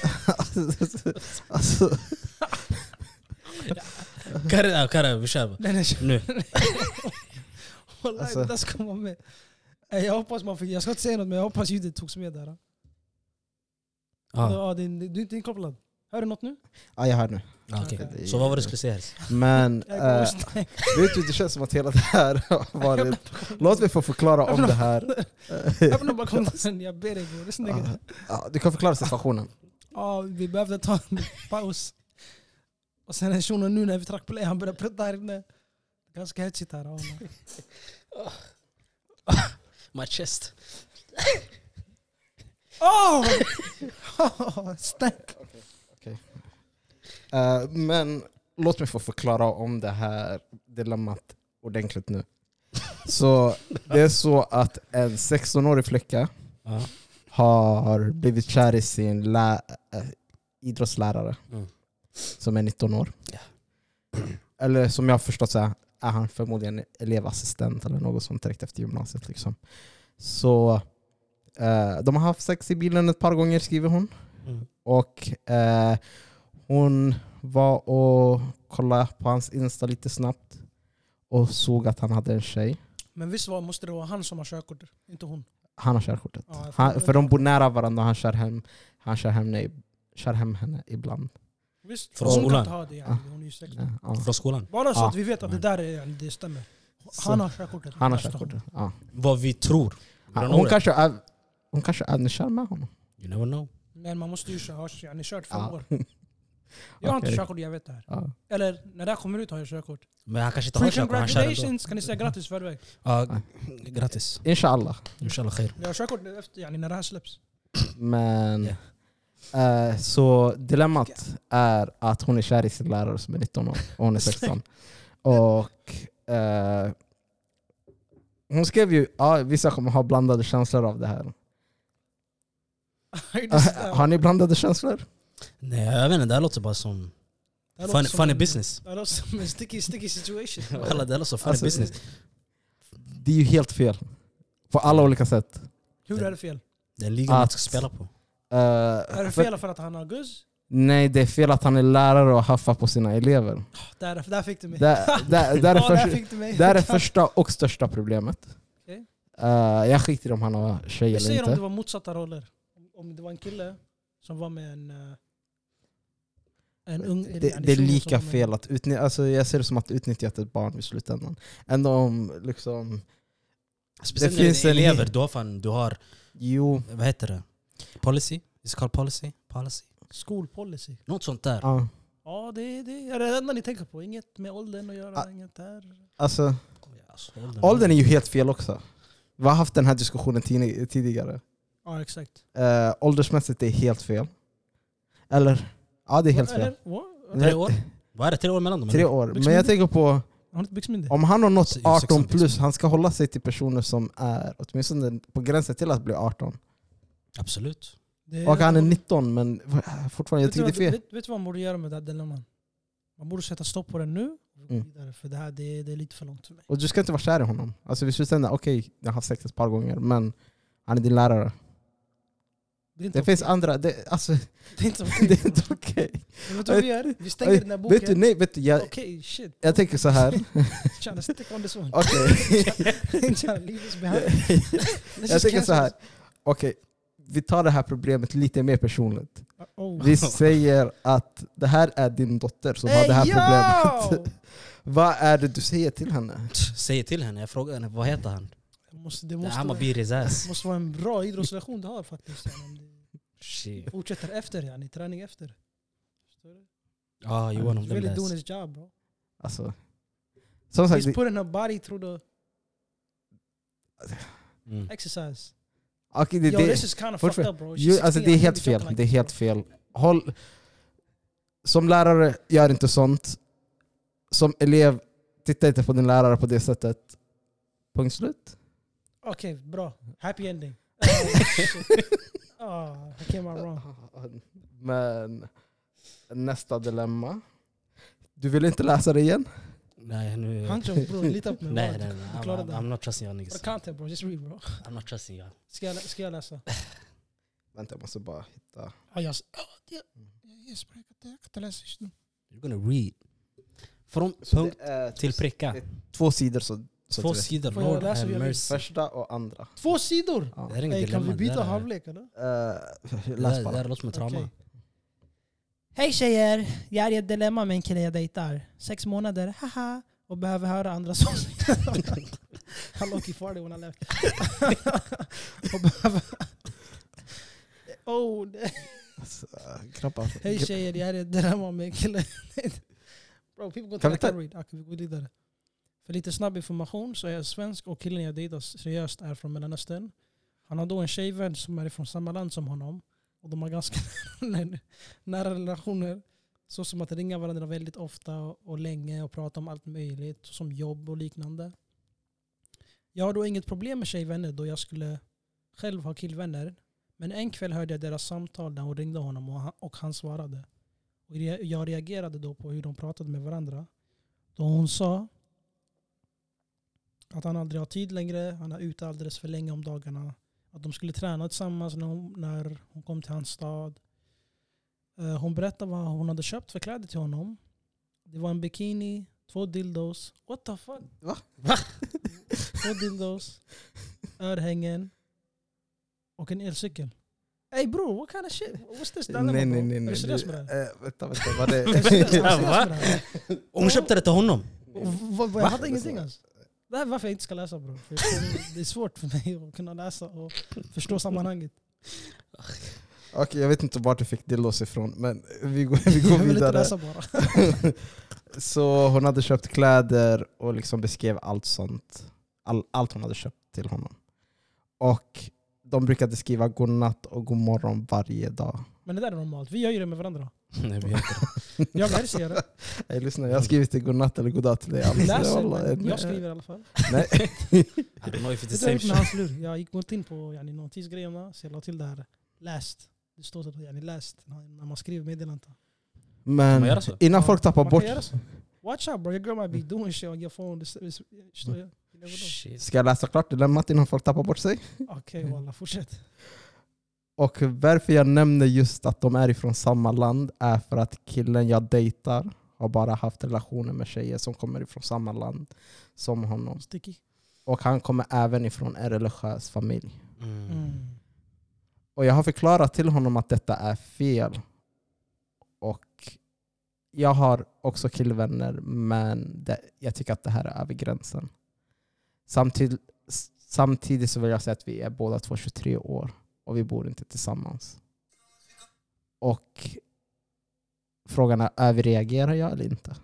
[SPEAKER 2] alltså,
[SPEAKER 3] Karre, ja, Karre, vi kör bara.
[SPEAKER 1] Nej, nej,
[SPEAKER 3] Nu.
[SPEAKER 1] Wallahi,
[SPEAKER 2] Alltså-
[SPEAKER 1] det där ska komma med. Eh, Jag hoppas man fick, jag ska inte säga något men jag hoppas ljudet togs med där.
[SPEAKER 3] Ah,
[SPEAKER 1] Alltså, Ja, det, du är inte inkopplad. Hör du något nu?
[SPEAKER 2] ja, jag hör nu.
[SPEAKER 3] ah, okej. Så vad var det du skulle säga? Helst?
[SPEAKER 2] Men
[SPEAKER 1] Jag kommer
[SPEAKER 2] eh,
[SPEAKER 1] snacka.
[SPEAKER 2] vet du, det känns som att hela det här har varit... Låt mig få förklara om det här.
[SPEAKER 1] Öppna balkongen, jag ber dig bror. Lyssna nigga.
[SPEAKER 2] Ja, du kan förklara situationen.
[SPEAKER 1] Ja, vi behövde ta en paus. Och sen är shunon nu när vi track play, han började prutta här inne. Ganska hetsigt här. ja.
[SPEAKER 3] My chest.
[SPEAKER 1] Åh! Oh! Stank!
[SPEAKER 2] Eh, men låt mig få förklara om det här dilemmat ordentligt nu. Så det är så att en 16-årig flicka
[SPEAKER 3] Ja.
[SPEAKER 2] har blivit kär i sin lä- eh, idrottslärare
[SPEAKER 3] Mm.
[SPEAKER 2] som är 19 år.
[SPEAKER 3] Ja.
[SPEAKER 2] Eller som jag har förstått så är är han förmodligen elevassistent eller något sånt direkt efter gymnasiet. Liksom. Så eh, de har haft sex i bilen ett par gånger skriver hon.
[SPEAKER 3] Mm.
[SPEAKER 2] Och eh, hon var och kollade på hans Insta lite snabbt och såg att han hade en tjej.
[SPEAKER 1] Men visst var, måste det vara han som har körkort? Inte hon.
[SPEAKER 2] Han har körkortet.
[SPEAKER 1] Ja, jag
[SPEAKER 2] Han,
[SPEAKER 1] fattar.
[SPEAKER 2] för de bor nära varandra och han kör hem, han kör hem, nej, kör hem henne ibland. Eh,
[SPEAKER 1] Visst,
[SPEAKER 3] Från
[SPEAKER 1] hon kan
[SPEAKER 3] skolan.
[SPEAKER 1] inte ha det. yani. Hon är ju 16.
[SPEAKER 2] Ja, ja.
[SPEAKER 3] Från skolan.
[SPEAKER 1] Bara så
[SPEAKER 2] Ja. Mm.
[SPEAKER 1] att vi vet att det där är, yani, det stämmer. Han har körkortet.
[SPEAKER 2] Han har
[SPEAKER 1] Där står
[SPEAKER 2] körkortet. Ja.
[SPEAKER 3] Vad vi tror.
[SPEAKER 2] Ja,
[SPEAKER 3] Hon
[SPEAKER 2] Hon
[SPEAKER 3] kan...
[SPEAKER 2] kanske, är, hon kanske även kör med honom.
[SPEAKER 3] You never know.
[SPEAKER 1] Men man måste ju köra, har yani, kört fem
[SPEAKER 2] Ja.
[SPEAKER 1] år. Jag har inte
[SPEAKER 2] Okej.
[SPEAKER 1] körkort, jag vet det här.
[SPEAKER 2] Ja.
[SPEAKER 1] Eller när det här kommer ut har jag körkort.
[SPEAKER 3] Men han kanske inte har
[SPEAKER 1] Free
[SPEAKER 3] körkort, han kör ändå.
[SPEAKER 1] congratulations, kan ni säga grattis i förväg.
[SPEAKER 3] Ja, g- grattis.
[SPEAKER 2] Inshallah.
[SPEAKER 3] Inshallah khair.
[SPEAKER 1] Jag har körkort efter, yani, när det här släpps.
[SPEAKER 2] Men, eh, så dilemmat är att hon är kär i sin lärare som är 19 år och hon är 16. Och eh, hon skrev ju ja, vissa kommer ha blandade känslor av det här. Har ni blandade känslor?
[SPEAKER 3] Nej, jag vet inte. Det här låter bara som...
[SPEAKER 1] Det här
[SPEAKER 3] Funny,
[SPEAKER 1] låter som
[SPEAKER 3] funny
[SPEAKER 1] en-
[SPEAKER 3] business.
[SPEAKER 1] Det här låter som en sticky, sticky situation.
[SPEAKER 3] Alla, det här låter som funny
[SPEAKER 2] Alltså,
[SPEAKER 3] business.
[SPEAKER 1] eh,
[SPEAKER 2] Det är ju helt fel. På alla olika sätt.
[SPEAKER 1] Hur är det fel?
[SPEAKER 3] Det är en liga man
[SPEAKER 2] Att-
[SPEAKER 3] ska spela på.
[SPEAKER 2] Eh,
[SPEAKER 1] Är det
[SPEAKER 2] för-
[SPEAKER 1] fel för att han har guzz?
[SPEAKER 2] nej, det är fel att han är lärare och haffar på sina elever.
[SPEAKER 1] Där, där fick du mig.
[SPEAKER 2] Där, där, där är
[SPEAKER 1] Ja, där
[SPEAKER 2] först,
[SPEAKER 1] fick du mig.
[SPEAKER 2] Det här är första och största problemet.
[SPEAKER 1] Okej.
[SPEAKER 2] Eh, jag skiter i om han har tjej
[SPEAKER 1] Vi
[SPEAKER 2] eller
[SPEAKER 1] säger om det
[SPEAKER 2] inte.
[SPEAKER 1] var motsatta roller. Om- Om det var en kille som var med en... eh, En ung...
[SPEAKER 2] Det,
[SPEAKER 1] yani,
[SPEAKER 2] det
[SPEAKER 1] shuno
[SPEAKER 2] är
[SPEAKER 1] som
[SPEAKER 2] lika
[SPEAKER 1] var med-
[SPEAKER 2] fel att utnyttja, alltså jag ser det som att utnyttja ett barn i slutändan. Ändå om liksom,
[SPEAKER 3] Speciellt
[SPEAKER 2] Det
[SPEAKER 3] när
[SPEAKER 2] finns
[SPEAKER 3] det är
[SPEAKER 2] en-
[SPEAKER 3] elever. Du har, fan, du har...
[SPEAKER 2] jo,
[SPEAKER 3] Vad heter det? Policy? It's called policy? Policy?
[SPEAKER 1] Skolpolicy.
[SPEAKER 3] Något sånt där.
[SPEAKER 2] ja.
[SPEAKER 1] Ja, det, det är det enda ni tänker på. Inget med åldern att göra,
[SPEAKER 2] Ah.
[SPEAKER 1] inget där.
[SPEAKER 2] alltså
[SPEAKER 3] Alltså, åldern-
[SPEAKER 2] åldern är ju helt fel också. Vi har haft den här diskussionen tini- tidigare.
[SPEAKER 1] Ja, exakt.
[SPEAKER 2] Uh, åldersmässigt det är helt fel. Eller, ja det är helt fel.
[SPEAKER 1] Eller, Liksom. what?
[SPEAKER 3] Tre år? Vad är det? Tre år mellan dem?
[SPEAKER 2] Tre
[SPEAKER 3] eller?
[SPEAKER 2] år. Men jag tänker på,
[SPEAKER 1] Har ni inte byxmyndig?
[SPEAKER 2] om han har nått
[SPEAKER 3] Se-
[SPEAKER 2] 18
[SPEAKER 3] 16
[SPEAKER 2] plus, han ska hålla sig till personer som är åtminstone på gränsen till att bli 18.
[SPEAKER 3] Absolut.
[SPEAKER 1] Det
[SPEAKER 2] Och han är 19 men fortfarande, jag
[SPEAKER 1] Vet du
[SPEAKER 2] tycker det är
[SPEAKER 1] vad-
[SPEAKER 2] fel.
[SPEAKER 1] Vet, vet du vad man borde göra med det här dilemman? Man borde sätta stopp på den nu och gå
[SPEAKER 2] Mm.
[SPEAKER 1] vidare. För det här det, det är lite för långt för mig.
[SPEAKER 2] Och du ska inte vara kär i honom. Alltså vi skulle säga okej, jag har haft sex ett par gånger men han är din lärare.
[SPEAKER 1] Det är inte
[SPEAKER 2] Det
[SPEAKER 1] okej.
[SPEAKER 2] finns andra, det, alltså
[SPEAKER 1] Det är inte okej.
[SPEAKER 2] det är inte okej.
[SPEAKER 1] Men Vet du vad vi gör? Vi stänger den här boken.
[SPEAKER 2] Vet du, nej vet du, jag,
[SPEAKER 1] Okej, shit.
[SPEAKER 2] jag tänker så här.
[SPEAKER 1] Tjena, stick on this one.
[SPEAKER 2] Okej.
[SPEAKER 1] Tjena, leave this behind. Let's just
[SPEAKER 2] jag tänker så
[SPEAKER 1] cancel
[SPEAKER 2] här.
[SPEAKER 1] this.
[SPEAKER 2] Okej, vi tar det här problemet lite mer personligt.
[SPEAKER 1] Oh.
[SPEAKER 2] Vi säger att det här är din dotter som har det här problemet. Vad är det du säger till henne?
[SPEAKER 3] Säg till henne, jag frågar henne vad heter han?
[SPEAKER 1] Det måste, det,
[SPEAKER 3] Det
[SPEAKER 1] måste
[SPEAKER 3] här
[SPEAKER 1] vara,
[SPEAKER 3] må bli his ass.
[SPEAKER 1] det måste vara en bra idrottslektion du har faktiskt. yani, Om
[SPEAKER 3] Shit.
[SPEAKER 1] du fortsätter efter, yani, träning efter. Förstår du?
[SPEAKER 3] Ah, you one of
[SPEAKER 1] He's
[SPEAKER 3] them
[SPEAKER 1] really doing
[SPEAKER 3] guys.
[SPEAKER 1] his job bro.
[SPEAKER 2] Alltså, som sagt,
[SPEAKER 1] He's putting her body through the
[SPEAKER 3] Mm.
[SPEAKER 1] exercise.
[SPEAKER 2] det- okej, det,
[SPEAKER 1] Yo,
[SPEAKER 2] det,
[SPEAKER 1] this is kind of
[SPEAKER 2] fortfar-
[SPEAKER 1] fucked up bro. She's
[SPEAKER 2] ju, alltså,
[SPEAKER 1] 16,
[SPEAKER 2] det är
[SPEAKER 1] I
[SPEAKER 2] helt
[SPEAKER 1] can't be
[SPEAKER 2] fel.
[SPEAKER 1] joking
[SPEAKER 2] Det är
[SPEAKER 1] like
[SPEAKER 2] helt
[SPEAKER 1] this,
[SPEAKER 2] fel. Håll, som lärare, gör inte sånt. Som elev, titta inte på din lärare på det sättet. Punkt slut.
[SPEAKER 1] bro. Okej, bra. Happy ending. Oh, shit. oh, I came out wrong.
[SPEAKER 2] Men nästa dilemma. Du vill inte läsa det igen?
[SPEAKER 3] Nej, nu... Nej,
[SPEAKER 1] Hunter bro, lita på mig.
[SPEAKER 3] nej,
[SPEAKER 1] bro.
[SPEAKER 3] nej. I'm,
[SPEAKER 1] klarar
[SPEAKER 3] I'm,
[SPEAKER 1] det.
[SPEAKER 3] I'm not trusting your
[SPEAKER 1] For
[SPEAKER 3] niggas.
[SPEAKER 1] the content bro, just read bro.
[SPEAKER 3] I'm not trusting you.
[SPEAKER 1] Ska jag, lä- ska jag läsa?
[SPEAKER 2] Vänta, jag måste bara hitta.
[SPEAKER 1] Ja, jag, s- ja, det- jag, jag, spräcker det. jag kan inte läsa just nu.
[SPEAKER 3] You're gonna read. Från
[SPEAKER 2] Så
[SPEAKER 3] punkt
[SPEAKER 2] det är
[SPEAKER 3] till pricka.
[SPEAKER 2] det- två sidor så, så
[SPEAKER 3] Två
[SPEAKER 2] till-
[SPEAKER 3] sidor.
[SPEAKER 1] Får jag
[SPEAKER 3] Lord
[SPEAKER 1] läsa
[SPEAKER 3] have
[SPEAKER 1] hur jag vill?
[SPEAKER 3] mercy.
[SPEAKER 2] Första och andra.
[SPEAKER 1] Två sidor!
[SPEAKER 2] Ja.
[SPEAKER 3] Det här är inget
[SPEAKER 1] Hey,
[SPEAKER 3] dilemma.
[SPEAKER 1] kan vi
[SPEAKER 3] det
[SPEAKER 1] byta
[SPEAKER 3] här är-
[SPEAKER 1] halvlek eller?
[SPEAKER 2] Eh,
[SPEAKER 3] Det här
[SPEAKER 2] läs
[SPEAKER 3] det
[SPEAKER 2] bara.
[SPEAKER 3] här låter som ett trauma.
[SPEAKER 1] Okej. Hej tjejer! Jag är i ett dilemma med en kille jag dejtar. Sex månader, haha! Och behöver höra andras åsikter. Han låg i farlig when I left. och behöver... Oh, det-
[SPEAKER 2] Alltså, eh, Knappt.
[SPEAKER 1] hej tjejer, jag är i ett dilemma med en kille jag dejtar. Bro, people go to
[SPEAKER 2] Kan vi
[SPEAKER 1] I
[SPEAKER 2] ta-
[SPEAKER 1] can read. Okej, vi går vidare. För lite snabb information så är jag svensk och killen jag dejtar seriöst är från Mellanöstern. Han har då en tjejvän som är från samma land som honom. Och de har ganska nära- nära relationer. Så som att ringa varandra väldigt ofta och länge och prata om allt möjligt. Som jobb och liknande. Jag har då inget problem med tjejvänner då jag skulle själv ha killvänner. Men en kväll hörde jag deras samtal där hon ringde honom och han, och han svarade. Och re- jag reagerade då på hur de pratade med varandra. Då hon sa att han aldrig har tid längre, han är ute alldeles för länge om dagarna. Att de skulle träna tillsammans när hon, när hon kom till hans stad. Eh, Hon berättade vad hon hade köpt för kläder till honom. Det var en bikini, två dildos. What the fuck?
[SPEAKER 2] Va?
[SPEAKER 1] två dildos, örhängen och en elcykel. Ey bror, what kind of shit? What's this dilemma
[SPEAKER 2] Nej,
[SPEAKER 1] bro?
[SPEAKER 2] nej, nej.
[SPEAKER 1] Är
[SPEAKER 2] nej.
[SPEAKER 1] du seriös med det här?
[SPEAKER 2] Eh, vänta, vänta. Vad det
[SPEAKER 1] Är du seriös? Är du seriös
[SPEAKER 3] Va?
[SPEAKER 1] med det här?
[SPEAKER 3] Och hon köpte det till honom.
[SPEAKER 1] V- v-
[SPEAKER 2] Va?
[SPEAKER 1] jag hade ingenting alltså. Det här är varför jag inte ska läsa bror. För jag- Det är svårt för mig att kunna läsa och förstå sammanhanget.
[SPEAKER 2] Okej, jag vet inte vart du fick dildos ifrån, men vi går, vi
[SPEAKER 1] Jag
[SPEAKER 2] går
[SPEAKER 1] vill inte
[SPEAKER 2] vidare.
[SPEAKER 1] läsa bara.
[SPEAKER 2] så hon hade köpt kläder och liksom beskrev allt sånt. All, allt hon hade köpt till honom. Och de brukade skriva godnatt och god morgon varje dag.
[SPEAKER 1] Men det där är normalt. Vi gör ju det med varandra.
[SPEAKER 3] Nej, vi har inte det.
[SPEAKER 1] Jag vill se det.
[SPEAKER 2] Hey, lyssna, jag har skrivit till godnatt eller goddag till dig. Alltså,
[SPEAKER 1] Vi läser,
[SPEAKER 2] wallah,
[SPEAKER 1] men jag
[SPEAKER 2] nej.
[SPEAKER 1] skriver i alla fall.
[SPEAKER 2] Nej.
[SPEAKER 3] I don't know if it's the
[SPEAKER 1] Det där
[SPEAKER 3] same
[SPEAKER 1] gick med
[SPEAKER 3] shit.
[SPEAKER 1] hans lur. Jag gick inte in på yani, notisgrejerna, så jag la till det här läst. Det står så att yani, läst när när man skriver meddelandet.
[SPEAKER 2] Men
[SPEAKER 3] man göra så?
[SPEAKER 2] innan folk tappar
[SPEAKER 1] Man kan
[SPEAKER 2] bort...
[SPEAKER 1] göra så. Watch out bro, your girl might be doing shit on your phone. This is- förstår jag? You never know.
[SPEAKER 3] Shit.
[SPEAKER 2] Ska jag läsa klart dilemmat innan folk tappar bort sig?
[SPEAKER 1] Okej walla, fortsätt.
[SPEAKER 2] Och varför jag nämner just att de är ifrån samma land är för att killen jag dejtar har bara haft relationer med tjejer som kommer ifrån samma land som honom.
[SPEAKER 1] Sticky.
[SPEAKER 2] Och han kommer även ifrån en religiös familj.
[SPEAKER 3] Mm.
[SPEAKER 1] Mm.
[SPEAKER 2] Och jag har förklarat till honom att detta är fel. Och jag har också killvänner men det, jag tycker att det här är över gränsen. Samtid, s- samtidigt så vill jag säga att vi är båda två 23 år och vi bor inte tillsammans. Och frågan är, överreagerar jag eller inte?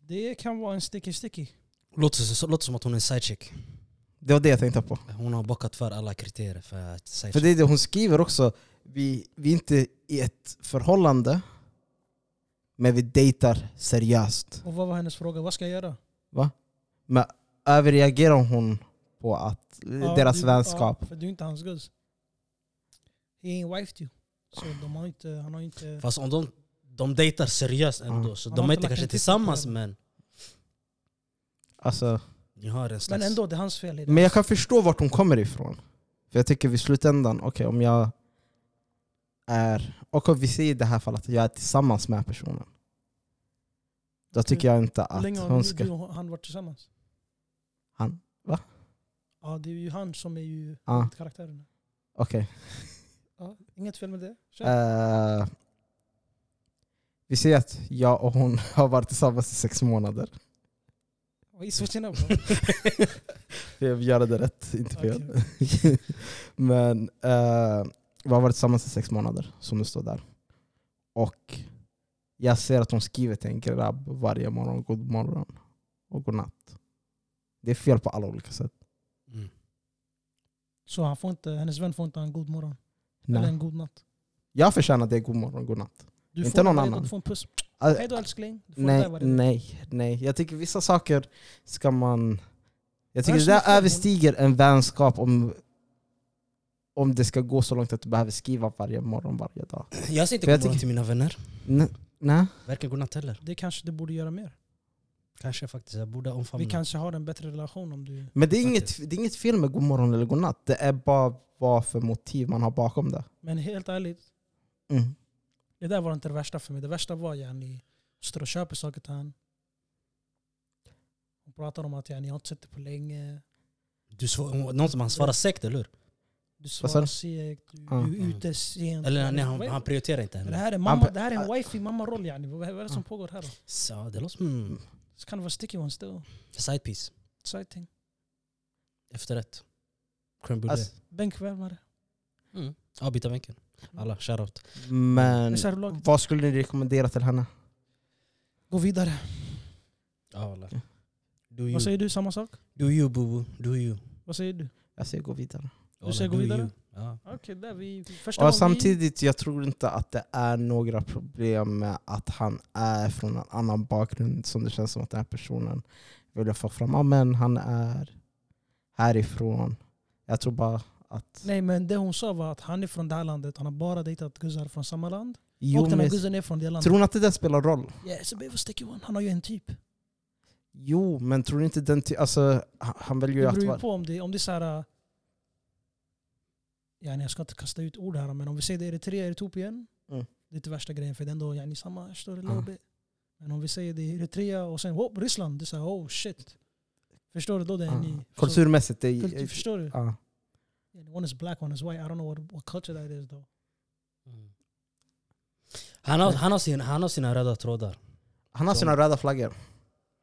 [SPEAKER 1] Det kan vara en sticky sticky.
[SPEAKER 3] Låter, så- låter som att hon är en sidechick.
[SPEAKER 2] Det var det jag tänkte på.
[SPEAKER 3] Hon har bockat för alla kriterier för att sidechick.
[SPEAKER 2] För det är det hon skriver också. Vi, vi är inte i ett förhållande men vi dejtar seriöst.
[SPEAKER 1] Och vad var hennes fråga? Vad ska jag göra?
[SPEAKER 2] överreagerar hon på att
[SPEAKER 1] Ja,
[SPEAKER 2] deras
[SPEAKER 1] du-
[SPEAKER 2] vänskap...
[SPEAKER 1] Ja, för du är inte hans guzz. He ain't wifed you. Så de har inte, han har inte...
[SPEAKER 3] Fast om de, de dejtar seriöst ändå,
[SPEAKER 2] Ja.
[SPEAKER 3] så
[SPEAKER 1] Han
[SPEAKER 3] de
[SPEAKER 1] har inte
[SPEAKER 3] är inte
[SPEAKER 1] lagt en
[SPEAKER 3] kanske
[SPEAKER 1] titel
[SPEAKER 3] tillsammans
[SPEAKER 1] på det.
[SPEAKER 3] men
[SPEAKER 2] Alltså,
[SPEAKER 3] ni har en slags...
[SPEAKER 1] Men ändå, det är hans fel. i det.
[SPEAKER 2] men jag kan förstå vart hon kommer ifrån. För jag tycker vid slutändan, okej om jag är... Och om vi säger i det här fallet att jag är tillsammans med personen. Då tycker jag inte
[SPEAKER 1] Hur
[SPEAKER 2] att
[SPEAKER 1] Mm. länge har
[SPEAKER 2] hon
[SPEAKER 1] du, du
[SPEAKER 2] ska...
[SPEAKER 1] och han varit tillsammans?
[SPEAKER 2] Han? Va?
[SPEAKER 1] Ja, det är ju han som är ju
[SPEAKER 2] Ja.
[SPEAKER 1] karaktären.
[SPEAKER 2] Okej.
[SPEAKER 1] Ja, inget fel med det. Kör.
[SPEAKER 2] Eh, vi säger att jag och hon har varit tillsammans i sex månader.
[SPEAKER 1] Vad är switchen up? bro?
[SPEAKER 2] Jag gör det rätt, inte fel.
[SPEAKER 1] Okej.
[SPEAKER 2] Men eh, vi har varit tillsammans i sex månader, som det står där. Och jag ser att hon skriver till en grabb varje morgon, god morgon och god natt. Det är fel på alla olika sätt.
[SPEAKER 3] Mm.
[SPEAKER 1] Så han får inte, hennes vän får inte ha en god morgon eller
[SPEAKER 2] Nej.
[SPEAKER 1] en god natt.
[SPEAKER 2] Jag förtjänar det, god morgon och god natt.
[SPEAKER 1] Du
[SPEAKER 2] Inte
[SPEAKER 1] får
[SPEAKER 2] någon
[SPEAKER 1] varje
[SPEAKER 2] annan.
[SPEAKER 1] dag, Du får en puss.
[SPEAKER 2] Alltså,
[SPEAKER 1] Hej då älskling. Du får det
[SPEAKER 2] nej,
[SPEAKER 1] där varje dag.
[SPEAKER 2] nej, nej. Jag tycker vissa saker ska man... Jag tycker
[SPEAKER 1] Annars
[SPEAKER 2] det
[SPEAKER 1] är det fel.
[SPEAKER 2] där överstiger en vänskap om, om det ska gå så långt att du behöver skriva varje morgon, varje dag.
[SPEAKER 3] Jag säger inte
[SPEAKER 2] För jag
[SPEAKER 3] godmorgon
[SPEAKER 2] tycker-
[SPEAKER 3] till mina vänner.
[SPEAKER 2] Nej. nej.
[SPEAKER 3] Verkar godnatt heller.
[SPEAKER 1] Det kanske du borde göra mer.
[SPEAKER 3] Kanske faktiskt, jag borde omfamna.
[SPEAKER 1] Vi kanske har en bättre relation om du...
[SPEAKER 2] Men det är, inget, det är inget fel med god morgon eller god natt. Det är bara vad för motiv man har bakom det.
[SPEAKER 1] Men helt ärligt,
[SPEAKER 2] Mm.
[SPEAKER 1] det där var inte det värsta för mig. Det värsta var yani, står och köper saker till han. Hon pratar om att yani, jag har inte sett dig på länge.
[SPEAKER 3] Du svar, någon som han svarar segt, eller hur?
[SPEAKER 1] Du
[SPEAKER 2] sa
[SPEAKER 1] svarar
[SPEAKER 2] du?
[SPEAKER 1] segt, du,
[SPEAKER 2] Ja.
[SPEAKER 1] du är ute sent.
[SPEAKER 3] Eller
[SPEAKER 1] Yani,
[SPEAKER 3] nej, han,
[SPEAKER 1] vad är-
[SPEAKER 3] han prioriterar inte
[SPEAKER 1] Men det
[SPEAKER 3] henne.
[SPEAKER 1] här är
[SPEAKER 2] Han
[SPEAKER 1] mamma,
[SPEAKER 2] be-
[SPEAKER 1] det här är en
[SPEAKER 2] ah.
[SPEAKER 1] wifey mamma-roll yani. Vad vad är det
[SPEAKER 3] Ah.
[SPEAKER 1] som pågår här då?
[SPEAKER 3] Så det låter som
[SPEAKER 1] It's kind of a sticky one still.
[SPEAKER 3] side piece.
[SPEAKER 1] Exciting.
[SPEAKER 3] Efterrätt. Crème brûlée.
[SPEAKER 2] Alltså,
[SPEAKER 1] Bänkvärmare.
[SPEAKER 3] mm. Ja, byta vinkel. Alla, shoutout.
[SPEAKER 2] men
[SPEAKER 1] Reservlag.
[SPEAKER 2] vad skulle ni rekommendera till henne?
[SPEAKER 1] Gå vidare.
[SPEAKER 3] Ja, alla. Do you,
[SPEAKER 1] Vad säger du? Samma sak?
[SPEAKER 3] do you boo do you.
[SPEAKER 1] Vad säger du?
[SPEAKER 2] Jag säger gå vidare.
[SPEAKER 3] Alla,
[SPEAKER 1] säger gå
[SPEAKER 3] do
[SPEAKER 1] vidare?
[SPEAKER 3] you. Ja.
[SPEAKER 1] Okej, där vi... Första
[SPEAKER 2] Och
[SPEAKER 1] gången
[SPEAKER 2] samtidigt, jag tror inte att det är några problem med att han är från en annan bakgrund som det känns som att den här personen vill få fram. Ja, men han är härifrån. Jag tror bara att...
[SPEAKER 1] Vi, nej, men det hon sa var att han är från det här landet. Han har bara dejtat guzzar från samma land.
[SPEAKER 2] Jo,
[SPEAKER 1] och den här
[SPEAKER 2] men,
[SPEAKER 1] guzzen är från det landet.
[SPEAKER 2] tror ni att det där spelar roll?
[SPEAKER 1] Ja, yeah, it's a bit of a sticky one. Han har ju en typ.
[SPEAKER 2] Jo, men tror du inte den... ty- Alltså, han- han väljer
[SPEAKER 1] Det
[SPEAKER 2] ju att
[SPEAKER 1] beror ju
[SPEAKER 2] vara...
[SPEAKER 1] på om det, om det är så här... äh, Ja, nej, jag ska inte kasta ut ord här, men om vi säger det är Eritrea, Etiopien.
[SPEAKER 2] Mm.
[SPEAKER 1] Det är inte värsta grejen, för det är ändå yani, samma större
[SPEAKER 2] Ja.
[SPEAKER 1] lobby. Men om vi säger det är Eritrea och sen oh, Ryssland, det är så här, oh shit. Förstår du? Då det är
[SPEAKER 2] Ja.
[SPEAKER 1] en ny...
[SPEAKER 2] Kulturmässigt, det
[SPEAKER 1] Så,
[SPEAKER 2] är...
[SPEAKER 1] kultur, förstår du?
[SPEAKER 2] Ja.
[SPEAKER 1] Yeah, one is black, one is white. I don't know what, what culture that is though.
[SPEAKER 3] Mm. Han, har, han, har sin, han har sina röda trådar.
[SPEAKER 2] Han har sina röda flaggor.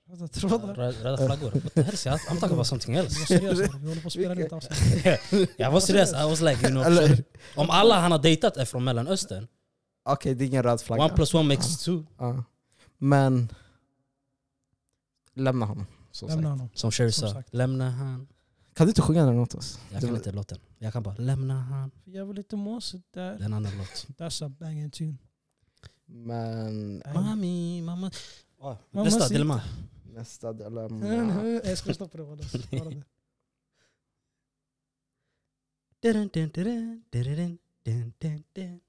[SPEAKER 1] Alltså,
[SPEAKER 3] Röda,
[SPEAKER 1] trådar.
[SPEAKER 3] röda flaggor. What the hell? I'm talking about something else.
[SPEAKER 1] Jag är seriös, här. vi håller på att spela in ett avsnitt.
[SPEAKER 3] Jag var seriös. I was like, you know,
[SPEAKER 2] Eller-
[SPEAKER 3] shit. om alla han har dejtat är från Mellanöstern,
[SPEAKER 2] Okej, det är ingen röd flagga.
[SPEAKER 3] one plus one makes two.
[SPEAKER 2] Ja. Men... Lämna honom. Så
[SPEAKER 1] Lämna
[SPEAKER 2] sagt.
[SPEAKER 1] honom.
[SPEAKER 3] Som Sherry
[SPEAKER 1] Som
[SPEAKER 3] sa,
[SPEAKER 1] sagt.
[SPEAKER 3] lämna han.
[SPEAKER 2] Kan du inte sjunga den åt oss?
[SPEAKER 3] Jag
[SPEAKER 2] Det
[SPEAKER 3] kan
[SPEAKER 2] var-
[SPEAKER 3] inte låten. Jag kan bara, lämna han.
[SPEAKER 1] Jag vill lite måsigt
[SPEAKER 3] Det är
[SPEAKER 1] där.
[SPEAKER 3] en annan låt.
[SPEAKER 1] That's a banging tune.
[SPEAKER 2] Men...
[SPEAKER 3] Mami, mamma.
[SPEAKER 2] Ah,
[SPEAKER 3] Oh,
[SPEAKER 1] Mamma
[SPEAKER 3] nästa,
[SPEAKER 1] sitter.
[SPEAKER 3] Dilma.
[SPEAKER 2] Nästa del... um, ja.
[SPEAKER 1] Nej, Jag ska stoppa det. Wallace. Bara det.
[SPEAKER 3] Dun, dun, dun, dun, dun, dun, dun.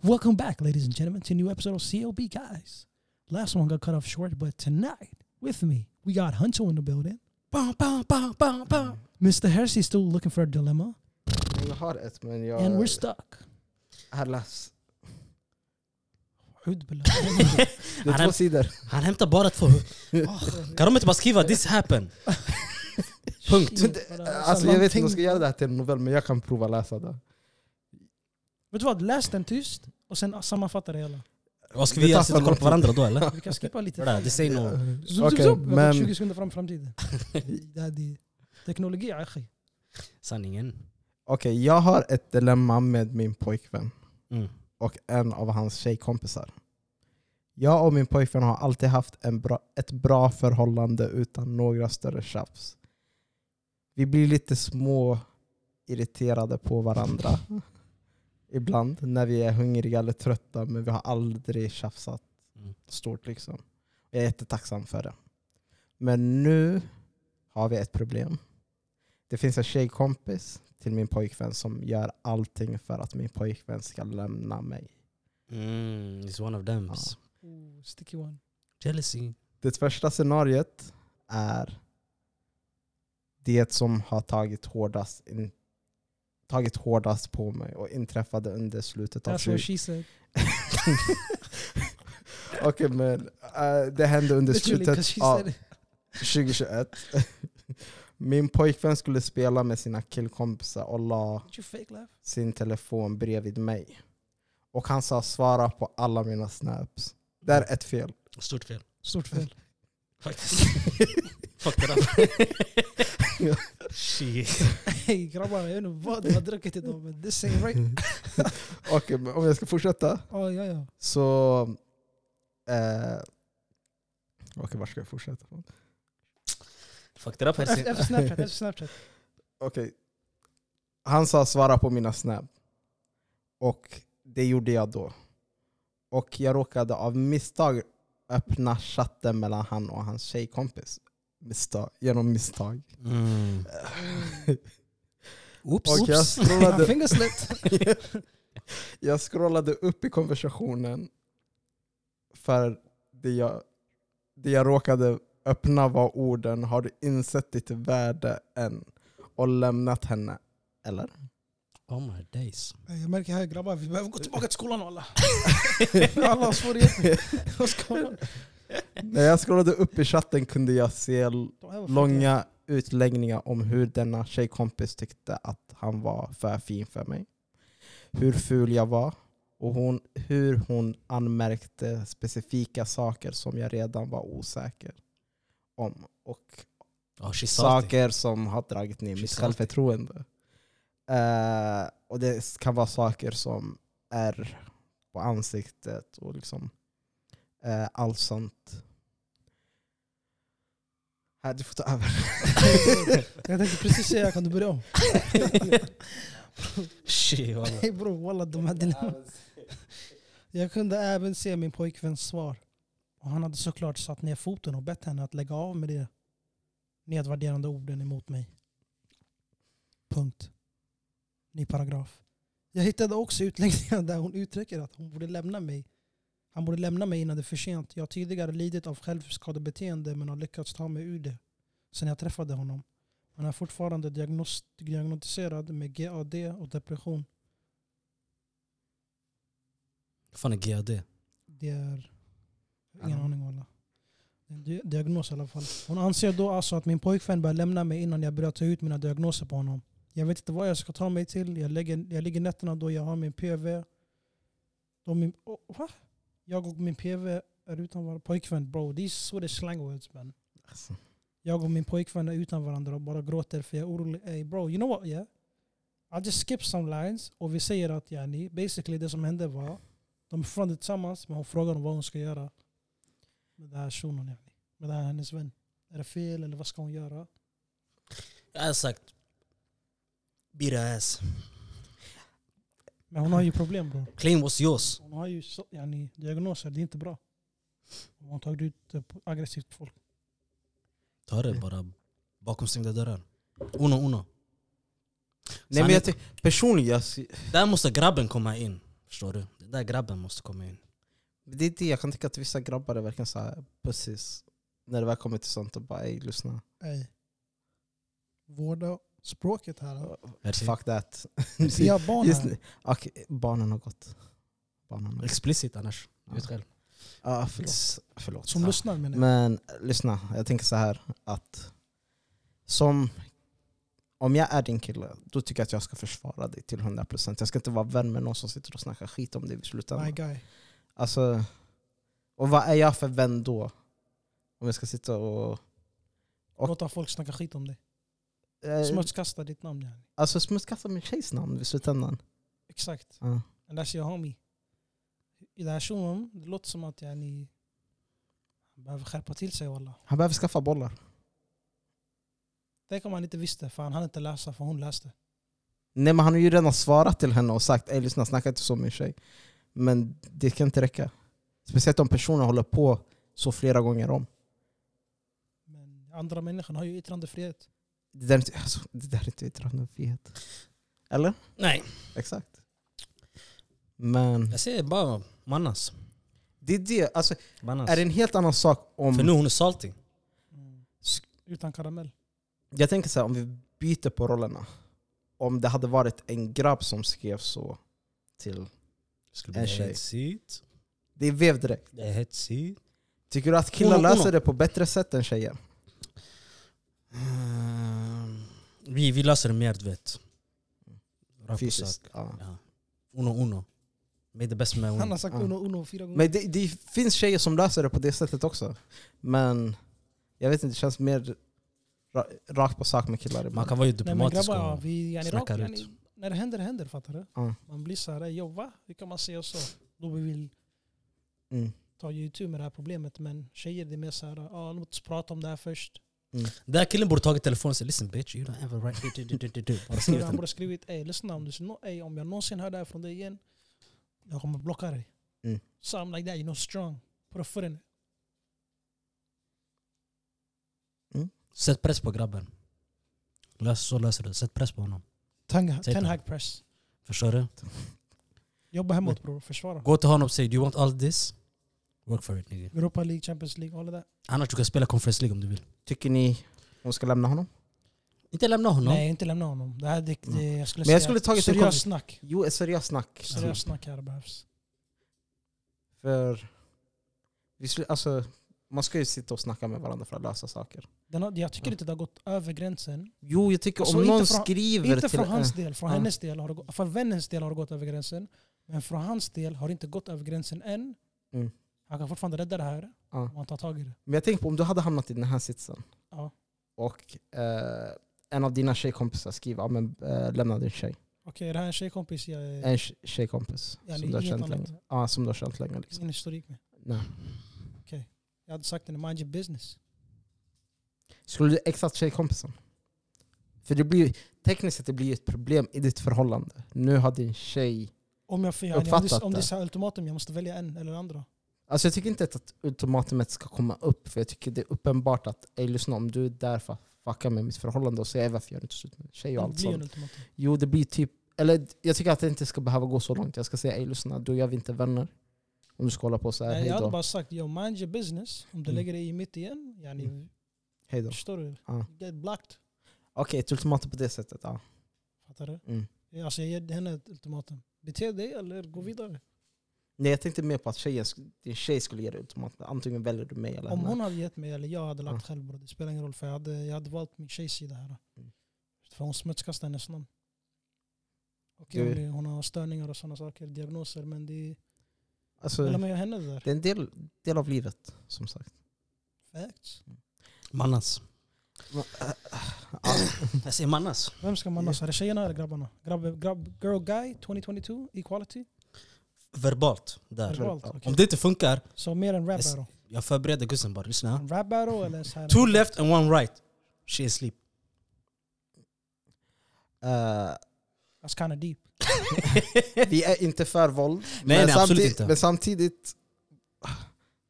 [SPEAKER 1] Welcome back, ladies and gentlemen, to a new episode of CLB Guys. Last one got cut off short, but tonight with me we got Hunter in the building.
[SPEAKER 3] Bam, bam, bam, bam, bam.
[SPEAKER 1] Mr. Hersey's still looking for a dilemma,
[SPEAKER 2] Jag har ett, men jag...
[SPEAKER 1] and we're stuck.
[SPEAKER 2] Här läs.
[SPEAKER 1] Hud billah.
[SPEAKER 2] Det
[SPEAKER 3] Han
[SPEAKER 2] är
[SPEAKER 3] är-
[SPEAKER 2] två sidor.
[SPEAKER 3] Han hämtar bara två... Åh, kan de inte bara skriva this happened? Punkt.
[SPEAKER 1] Shit,
[SPEAKER 2] Det-
[SPEAKER 1] bara,
[SPEAKER 2] Alltså,
[SPEAKER 1] så
[SPEAKER 2] jag vet inte
[SPEAKER 1] någonting-
[SPEAKER 2] om jag ska göra det här till en novell, men jag kan prova läsa det.
[SPEAKER 1] Vet du vad, läs den tyst och sen sammanfatta det hela.
[SPEAKER 3] Vad ska
[SPEAKER 2] Det
[SPEAKER 3] vi
[SPEAKER 2] tar
[SPEAKER 3] göra? Sitta och
[SPEAKER 2] för
[SPEAKER 3] kolla på
[SPEAKER 2] lång
[SPEAKER 3] varandra då eller?
[SPEAKER 1] Vi kan skippa lite.
[SPEAKER 3] Bror, Det säger nog...
[SPEAKER 1] Zoom,
[SPEAKER 2] Okej,
[SPEAKER 1] zoom, zoom. Vi har
[SPEAKER 2] men-
[SPEAKER 1] 20 sekunder fram i framtiden. Det här är teknologi, akhi.
[SPEAKER 3] Sanningen.
[SPEAKER 2] Okej, jag har ett dilemma med min pojkvän.
[SPEAKER 3] Mm.
[SPEAKER 2] och en av hans tjejkompisar. Jag och min pojkvän har alltid haft en bra, ett bra förhållande utan några större tjafs. Vi blir lite små irriterade på varandra ibland när vi är hungriga eller trötta men vi har aldrig tjafsat
[SPEAKER 3] Mm.
[SPEAKER 2] stort liksom. Jag är jättetacksam för det. Men nu har vi ett problem. Det finns en tjejkompis till min pojkvän som gör allting för att min pojkvän ska lämna mig.
[SPEAKER 3] Mm, it's one of them.
[SPEAKER 2] Ja.
[SPEAKER 1] Ooh, sticky one.
[SPEAKER 3] Jealousy.
[SPEAKER 2] Det första scenariet är det som har tagit hårdast, in, tagit hårdast på mig och inträffade under slutet av
[SPEAKER 1] That's what
[SPEAKER 2] 20...
[SPEAKER 1] she said.
[SPEAKER 2] Okej men eh, det hände under
[SPEAKER 1] Literally,
[SPEAKER 2] slutet
[SPEAKER 1] 'cause she
[SPEAKER 2] av
[SPEAKER 1] said it.
[SPEAKER 2] 2021. Min pojkvän skulle spela med sina killkompisar och la
[SPEAKER 1] Don't you fake laugh?
[SPEAKER 2] sin telefon bredvid mig. Och han sa svara på alla mina snaps. Det är ett fel.
[SPEAKER 3] Stort fel.
[SPEAKER 1] Stort fel.
[SPEAKER 3] Faktiskt. Fuck it up. Shit.
[SPEAKER 1] Hey grabbar, jag vet inte vad du har druckit idag men this ain't right.
[SPEAKER 2] Och eh, om jag ska fortsätta
[SPEAKER 1] Ja, ja, ja.
[SPEAKER 2] så... Eh, Okej, var ska jag fortsätta? från?
[SPEAKER 3] Fuck it up
[SPEAKER 1] Efter,
[SPEAKER 3] Helsing.
[SPEAKER 1] efter Snapchat, efter Snapchat.
[SPEAKER 2] Okej. Han sa svara på mina snap. Och det gjorde jag då. Och jag råkade av misstag öppna chatten mellan han och hans tjejkompis. Misstag, genom misstag.
[SPEAKER 3] Mm. Oops.
[SPEAKER 2] Och jag
[SPEAKER 1] My
[SPEAKER 2] scrollade,
[SPEAKER 1] fingers slipped.
[SPEAKER 2] jag scrollade upp i konversationen för det jag, det jag råkade öppna var orden har du insett ditt värde än och lämnat henne? Eller?
[SPEAKER 3] Oh my days.
[SPEAKER 1] Hey, Jag märker här grabbar, vi behöver gå tillbaka till skolan alla. alla har svårigheter. Vad ska man-
[SPEAKER 2] När jag scrollade upp i chatten kunde jag se
[SPEAKER 1] De här var feta.
[SPEAKER 2] långa utläggningar om hur denna tjejkompis tyckte att han var för fin för mig. Hur ful jag var och hon, hur hon anmärkte specifika saker som jag redan var osäker om. Och
[SPEAKER 3] Oh, she's salty.
[SPEAKER 2] saker som har dragit ner
[SPEAKER 3] She's
[SPEAKER 2] mitt
[SPEAKER 3] salty.
[SPEAKER 2] självförtroende. Eh, och det kan vara saker som är på ansiktet och liksom eh, allt sånt. Här, du får ta över.
[SPEAKER 1] Jag tänkte precis säga, kan du börja om?
[SPEAKER 3] Shit, walla.
[SPEAKER 1] Hey bror, walla de här dilemman. Jag kunde även se min pojkväns svar. Och han hade såklart satt ner foten och bett henne att lägga av med de nedvärderande orden emot mig. Punkt. Ny paragraf. Jag hittade också utläggningar där hon uttrycker att hon borde lämna mig. Han borde lämna mig innan det är för sent. Jag har tidigare lidit av självskadebeteende men har lyckats ta mig ur det sen jag träffade honom. Han är fortfarande diagnos- diagnostiserad med GAD och depression.
[SPEAKER 3] Vad fan är GAD?
[SPEAKER 1] Det är... Ingen
[SPEAKER 2] Ja.
[SPEAKER 1] aning walla. Det är en di- Diagnos i alla fall. Hon anser då alltså att min pojkvän bör lämna mig innan jag börjar ta ut mina diagnoser på honom. Jag vet inte vad jag ska ta mig till. Jag, lägger, jag ligger nätterna då jag har min PV. Då min, oh, va? Jag och min PV är utan varandra. Pojkvän bro, these Swedish slang words man.
[SPEAKER 2] Alltså.
[SPEAKER 1] Jag och min pojkvän är utan varandra och bara gråter för jag är orolig. Ey bro, you know what yeah? I'll just skip some lines och vi säger att yani, basically det som hände var de är från tillsammans men hon frågar om vad hon ska göra med den här shunon yani. Med den här hennes vän. Är det fel eller vad ska hon göra?
[SPEAKER 3] Jag har sagt beat her ass.
[SPEAKER 1] Men hon har ju problem bror.
[SPEAKER 3] Claim was yours.
[SPEAKER 1] Hon har ju så, yani, diagnoser, det är inte bra. Hon har tagit ut det på aggressivt folk.
[SPEAKER 3] Ta det bara bakom stängda dörrar. Uno, uno.
[SPEAKER 2] Nej, men jag ty- personligen, jag, sy-
[SPEAKER 3] Där måste grabben komma in. Förstår du? Den där grabben måste komma in.
[SPEAKER 2] det är det, jag kan tycka att vissa grabbar är verkligen så här precis när det väl kommer till sånt och bara ey lyssna.
[SPEAKER 1] Ey. Vårda språket här.
[SPEAKER 3] Merci.
[SPEAKER 2] Fuck that.
[SPEAKER 1] Vi har barn
[SPEAKER 2] Just
[SPEAKER 1] här.
[SPEAKER 2] nu. Okej, barnen har gått. Barnen har gått.
[SPEAKER 3] Explicit annars.
[SPEAKER 2] Ja.
[SPEAKER 3] Vet själv.
[SPEAKER 2] Ah, förlåt. förlåt.
[SPEAKER 1] Som
[SPEAKER 2] Ja.
[SPEAKER 1] lyssnar menar jag.
[SPEAKER 2] Men lyssna, jag tänker så här att som om jag är din kille, då tycker jag att jag ska försvara dig till 100%. Jag ska inte vara vän med någon som sitter och snackar skit om dig i
[SPEAKER 1] My
[SPEAKER 2] slutändan.
[SPEAKER 1] guy.
[SPEAKER 2] Alltså, och vad är jag för vän då? Om jag ska sitta och... Och-
[SPEAKER 1] Låta folk snacka skit om dig.
[SPEAKER 2] Eh,
[SPEAKER 1] Smutskasta ditt namn yani.
[SPEAKER 2] alltså smutskasta min tjejs namn i slutändan.
[SPEAKER 1] Exakt.
[SPEAKER 2] Ja.
[SPEAKER 1] And that's your homie. I den här shunon, det låter som att yani, han behöver skärpa till sig walla.
[SPEAKER 2] Han behöver skaffa bollar.
[SPEAKER 1] Tänk om han inte visste, för han hann inte läsa för hon läste.
[SPEAKER 2] Nej men han har ju redan svarat till henne och sagt Ey, lyssna, snacka inte så om min tjej. Men det kan inte räcka. Speciellt om personen håller på så flera gånger om.
[SPEAKER 1] Men andra människor har ju yttrandefrihet.
[SPEAKER 2] Det där är inte, alltså, det där är inte yttrandefrihet. Eller?
[SPEAKER 3] Nej,
[SPEAKER 2] Exakt. Men
[SPEAKER 3] jag säger bara mannas.
[SPEAKER 2] det är det. Alltså,
[SPEAKER 3] mannas.
[SPEAKER 2] är det en helt annan sak
[SPEAKER 3] För nu
[SPEAKER 2] om...
[SPEAKER 3] hon är salty.
[SPEAKER 2] Sk-
[SPEAKER 1] Utan karamell.
[SPEAKER 2] Jag tänker så här, om vi byter på rollerna. Om det hade varit en grabb som skrev så till...
[SPEAKER 3] Skulle
[SPEAKER 2] bli
[SPEAKER 3] bli
[SPEAKER 2] En tjej.
[SPEAKER 3] hetsigt.
[SPEAKER 2] Det är vev direkt.
[SPEAKER 3] Det är hetsigt.
[SPEAKER 2] Tycker du att killar
[SPEAKER 3] Ono, ono.
[SPEAKER 2] löser det på bättre sätt än tjejer?
[SPEAKER 3] Mm, Vi, vi löser det mer du vet. Rakt på sak.
[SPEAKER 2] Fysiskt. Ja.
[SPEAKER 3] Ja. Uno uno. Med det bästa med
[SPEAKER 1] Han
[SPEAKER 3] uno.
[SPEAKER 1] har sagt
[SPEAKER 2] Ja.
[SPEAKER 1] Uno, Uno fyra gånger.
[SPEAKER 2] Men det, det finns tjejer som löser det på det sättet också. Men jag vet inte, det känns mer ra, rakt på sak med killar
[SPEAKER 3] Man
[SPEAKER 2] ibland.
[SPEAKER 3] kan vara ju
[SPEAKER 1] Nej men
[SPEAKER 3] diplomatisk.
[SPEAKER 1] grabbar, ja,
[SPEAKER 3] och-
[SPEAKER 1] vi, yani, rakt,
[SPEAKER 3] snackar
[SPEAKER 1] yani,
[SPEAKER 3] ut.
[SPEAKER 1] när det händer, det händer. Fattar du?
[SPEAKER 2] Ja.
[SPEAKER 1] Man blir såhär, jo va? Hur kan man säga så? Då vi vill
[SPEAKER 2] Mm.
[SPEAKER 1] ta ju itu med det här problemet. Men tjejer, det är mer såhär, ja låt oss prata om det här först.
[SPEAKER 3] Den här killen borde tagit telefonen och sagt listen bitch you don't ever write... Du, du, du, du, du. Bara
[SPEAKER 1] Så
[SPEAKER 3] skrivit
[SPEAKER 1] Han
[SPEAKER 3] den.
[SPEAKER 1] borde ha skrivit, ey lyssna om, du, nå- ey, om jag någonsin hör det här från dig igen, jag kommer blocka dig.
[SPEAKER 2] Mm.
[SPEAKER 1] Something like that, you know strong. Put a foot in it.
[SPEAKER 3] Sätt press på grabben. Lös, så löser du det. Sätt press på honom.
[SPEAKER 1] Tanga,
[SPEAKER 3] Säg
[SPEAKER 1] ten
[SPEAKER 3] det.
[SPEAKER 1] hag press.
[SPEAKER 3] Förstår du?
[SPEAKER 1] Jobba hemåt bror, försvara.
[SPEAKER 3] Gå till honom och säg do you want all this? Work for it nigga.
[SPEAKER 1] Europa League, Champions League, all of that.
[SPEAKER 3] Annars du kan spela Conference League om du vill.
[SPEAKER 2] Tycker ni hon ska lämna honom?
[SPEAKER 3] Inte lämna honom.
[SPEAKER 1] Nej, inte lämna honom. Det här, det, det, jag skulle
[SPEAKER 2] Mm. Men
[SPEAKER 1] säga,
[SPEAKER 2] jag skulle tagit en
[SPEAKER 1] seriöst
[SPEAKER 2] kompis-
[SPEAKER 1] snack.
[SPEAKER 2] Jo, ett seriöst snack.
[SPEAKER 1] Seriöst snack här behövs.
[SPEAKER 2] För vi skulle, alltså, man ska ju sitta och snacka med varandra för att lösa saker.
[SPEAKER 1] Den har, jag tycker inte det har gått över gränsen.
[SPEAKER 2] Jo, jag tycker
[SPEAKER 1] Alltså,
[SPEAKER 2] om
[SPEAKER 1] inte
[SPEAKER 2] någon
[SPEAKER 1] från-
[SPEAKER 2] skriver
[SPEAKER 1] Inte
[SPEAKER 2] till...
[SPEAKER 1] från hans
[SPEAKER 2] eh,
[SPEAKER 1] del, från
[SPEAKER 2] ja.
[SPEAKER 1] hennes del, har det, gå- för vännens del har det gått över gränsen. Men från hans del har det inte gått över gränsen än.
[SPEAKER 2] Mm.
[SPEAKER 1] Han kan fortfarande rädda det här
[SPEAKER 2] Ja.
[SPEAKER 1] om han tar tag i det.
[SPEAKER 2] Men jag tänker på om du hade hamnat i den här sitsen
[SPEAKER 1] Ja.
[SPEAKER 2] och eh, en av dina tjejkompisar skriver ja, men, eh, lämna din tjej.
[SPEAKER 1] Okej, det här är en tjejkompis jag är
[SPEAKER 2] En tje- tjejkompis
[SPEAKER 1] Ja, det är
[SPEAKER 2] som, du har
[SPEAKER 1] inget
[SPEAKER 2] känt
[SPEAKER 1] annat. Mm.
[SPEAKER 2] länge. Ja, som du har känt länge. Liksom.
[SPEAKER 1] ingen historik med.
[SPEAKER 2] Nej.
[SPEAKER 1] Jag hade sagt till henne, mind your business.
[SPEAKER 2] Skulle du exakt tjejkompisen? För det blir ju, tekniskt sett det blir ju ett problem i ditt förhållande. Nu har din tjej...
[SPEAKER 1] Om jag får göra om det,
[SPEAKER 2] Uppfattat
[SPEAKER 1] om det är
[SPEAKER 2] det.
[SPEAKER 1] så här ultimatum, jag måste välja en eller andra.
[SPEAKER 2] Alltså jag tycker inte att ultimatumet ska komma upp, för jag tycker det är uppenbart att ej lyssna, om du är där för att fucka med mitt förhållande och säga varför gör du inte slut med din tjej
[SPEAKER 1] Det
[SPEAKER 2] och allt
[SPEAKER 1] blir ju en
[SPEAKER 2] sånt.
[SPEAKER 1] ultimatum.
[SPEAKER 2] Jo, det blir typ... Eller jag tycker att det inte ska behöva gå så långt. Jag ska säga ej lyssna, då gör vi inte vänner. Om du ska hålla på så här,
[SPEAKER 1] Nej,
[SPEAKER 2] hej
[SPEAKER 1] jag hade
[SPEAKER 2] då.
[SPEAKER 1] bara sagt, yo, mind your business. Om du
[SPEAKER 2] Mm.
[SPEAKER 1] lägger dig i mitt igen, yani,
[SPEAKER 2] Hej då.
[SPEAKER 1] förstår du?
[SPEAKER 2] Ja.
[SPEAKER 1] Get blocked.
[SPEAKER 2] Okej, ett ultimatum på det sättet. Ja.
[SPEAKER 1] Fattar du?
[SPEAKER 2] Mm.
[SPEAKER 1] Ja, Alltså, jag ger henne ett ultimatum. Bete dig eller gå vidare.
[SPEAKER 2] Nej, jag tänkte mer på att tjejen, sk- din tjej skulle ge dig ultimatum. Antingen väljer du mig eller
[SPEAKER 1] Om
[SPEAKER 2] henne.
[SPEAKER 1] hon hade gett mig eller jag hade lagt själv bror, det spelar ingen roll för jag hade, jag hade valt min tjejs sida här.
[SPEAKER 2] Mm.
[SPEAKER 1] För hon smutskastar hennes namn. Okej,
[SPEAKER 2] Du-
[SPEAKER 1] hon är- hon har störningar och sådana saker, diagnoser, men det
[SPEAKER 2] Alltså,
[SPEAKER 1] är... mig och henne det där.
[SPEAKER 2] Det är en del, del av livet, som sagt.
[SPEAKER 1] Facts.
[SPEAKER 3] Mannas. Jag säger mannas.
[SPEAKER 1] Vem ska man nassa? Är det tjejerna eller grabbarna? Grabb, grabb, girl guy 2022, equality?
[SPEAKER 3] Verbalt.
[SPEAKER 2] Mm.
[SPEAKER 3] Där.
[SPEAKER 1] Verbalt, okej.
[SPEAKER 3] Om det inte funkar,
[SPEAKER 1] Så mer en rap
[SPEAKER 3] Yes.
[SPEAKER 1] battle?
[SPEAKER 3] jag förbereder gussen bara. Lyssna.
[SPEAKER 2] Mm.
[SPEAKER 1] En rap battle eller en sån här...
[SPEAKER 3] Two left and one right. She is asleep.
[SPEAKER 2] Eh,
[SPEAKER 1] That's kinda deep.
[SPEAKER 2] vi är inte för våld.
[SPEAKER 3] Nej, nej absolut
[SPEAKER 2] samtidigt,
[SPEAKER 3] inte.
[SPEAKER 2] men samtidigt...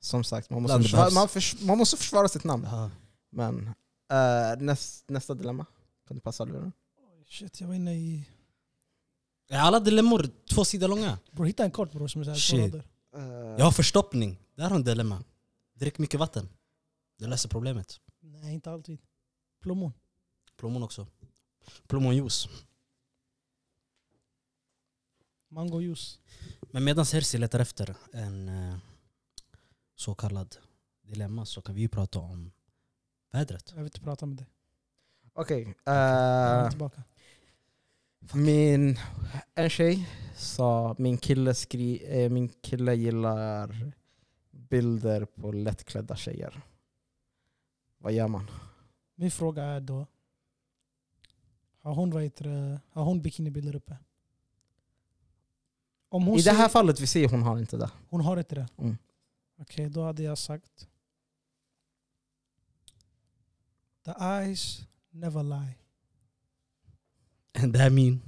[SPEAKER 2] Som sagt, man måste,
[SPEAKER 3] Ibland
[SPEAKER 2] försvara,
[SPEAKER 3] behövs.
[SPEAKER 2] man förs, man måste försvara sitt namn.
[SPEAKER 3] Ja.
[SPEAKER 2] Men eh, näst, nästa dilemma. Kan du passa luren?
[SPEAKER 1] Shit, jag var inne i...
[SPEAKER 3] Är alla dilemmor två sidor långa?
[SPEAKER 1] Bror hitta en kort bror som är såhär
[SPEAKER 3] Shit.
[SPEAKER 1] två rader.
[SPEAKER 2] Eh,
[SPEAKER 3] Jag har förstoppning. Där har en dilemma. Drick mycket vatten. Det löser problemet.
[SPEAKER 1] Nej, inte alltid. Plommon.
[SPEAKER 3] Plommon också. Plommonjuice.
[SPEAKER 1] Mangojuice.
[SPEAKER 3] Men medan Herzi letar efter en eh, så kallad dilemma så kan vi ju prata om vädret.
[SPEAKER 1] Jag vill inte prata med dig.
[SPEAKER 2] Okej.
[SPEAKER 1] Jag
[SPEAKER 2] eh,
[SPEAKER 1] är tillbaka.
[SPEAKER 2] min, en tjej sa min kille, skri, eh, min kille gillar bilder på lättklädda tjejer. Vad gör man?
[SPEAKER 1] Min fråga är då, har hon, vad heter det, har hon bikinibilder uppe? Om hon,
[SPEAKER 2] I det
[SPEAKER 1] säger-
[SPEAKER 2] här fallet vi ser hon har inte det.
[SPEAKER 1] hon har inte det?
[SPEAKER 2] Mm.
[SPEAKER 1] Okej, då hade jag sagt The eyes never lie.
[SPEAKER 3] And that mean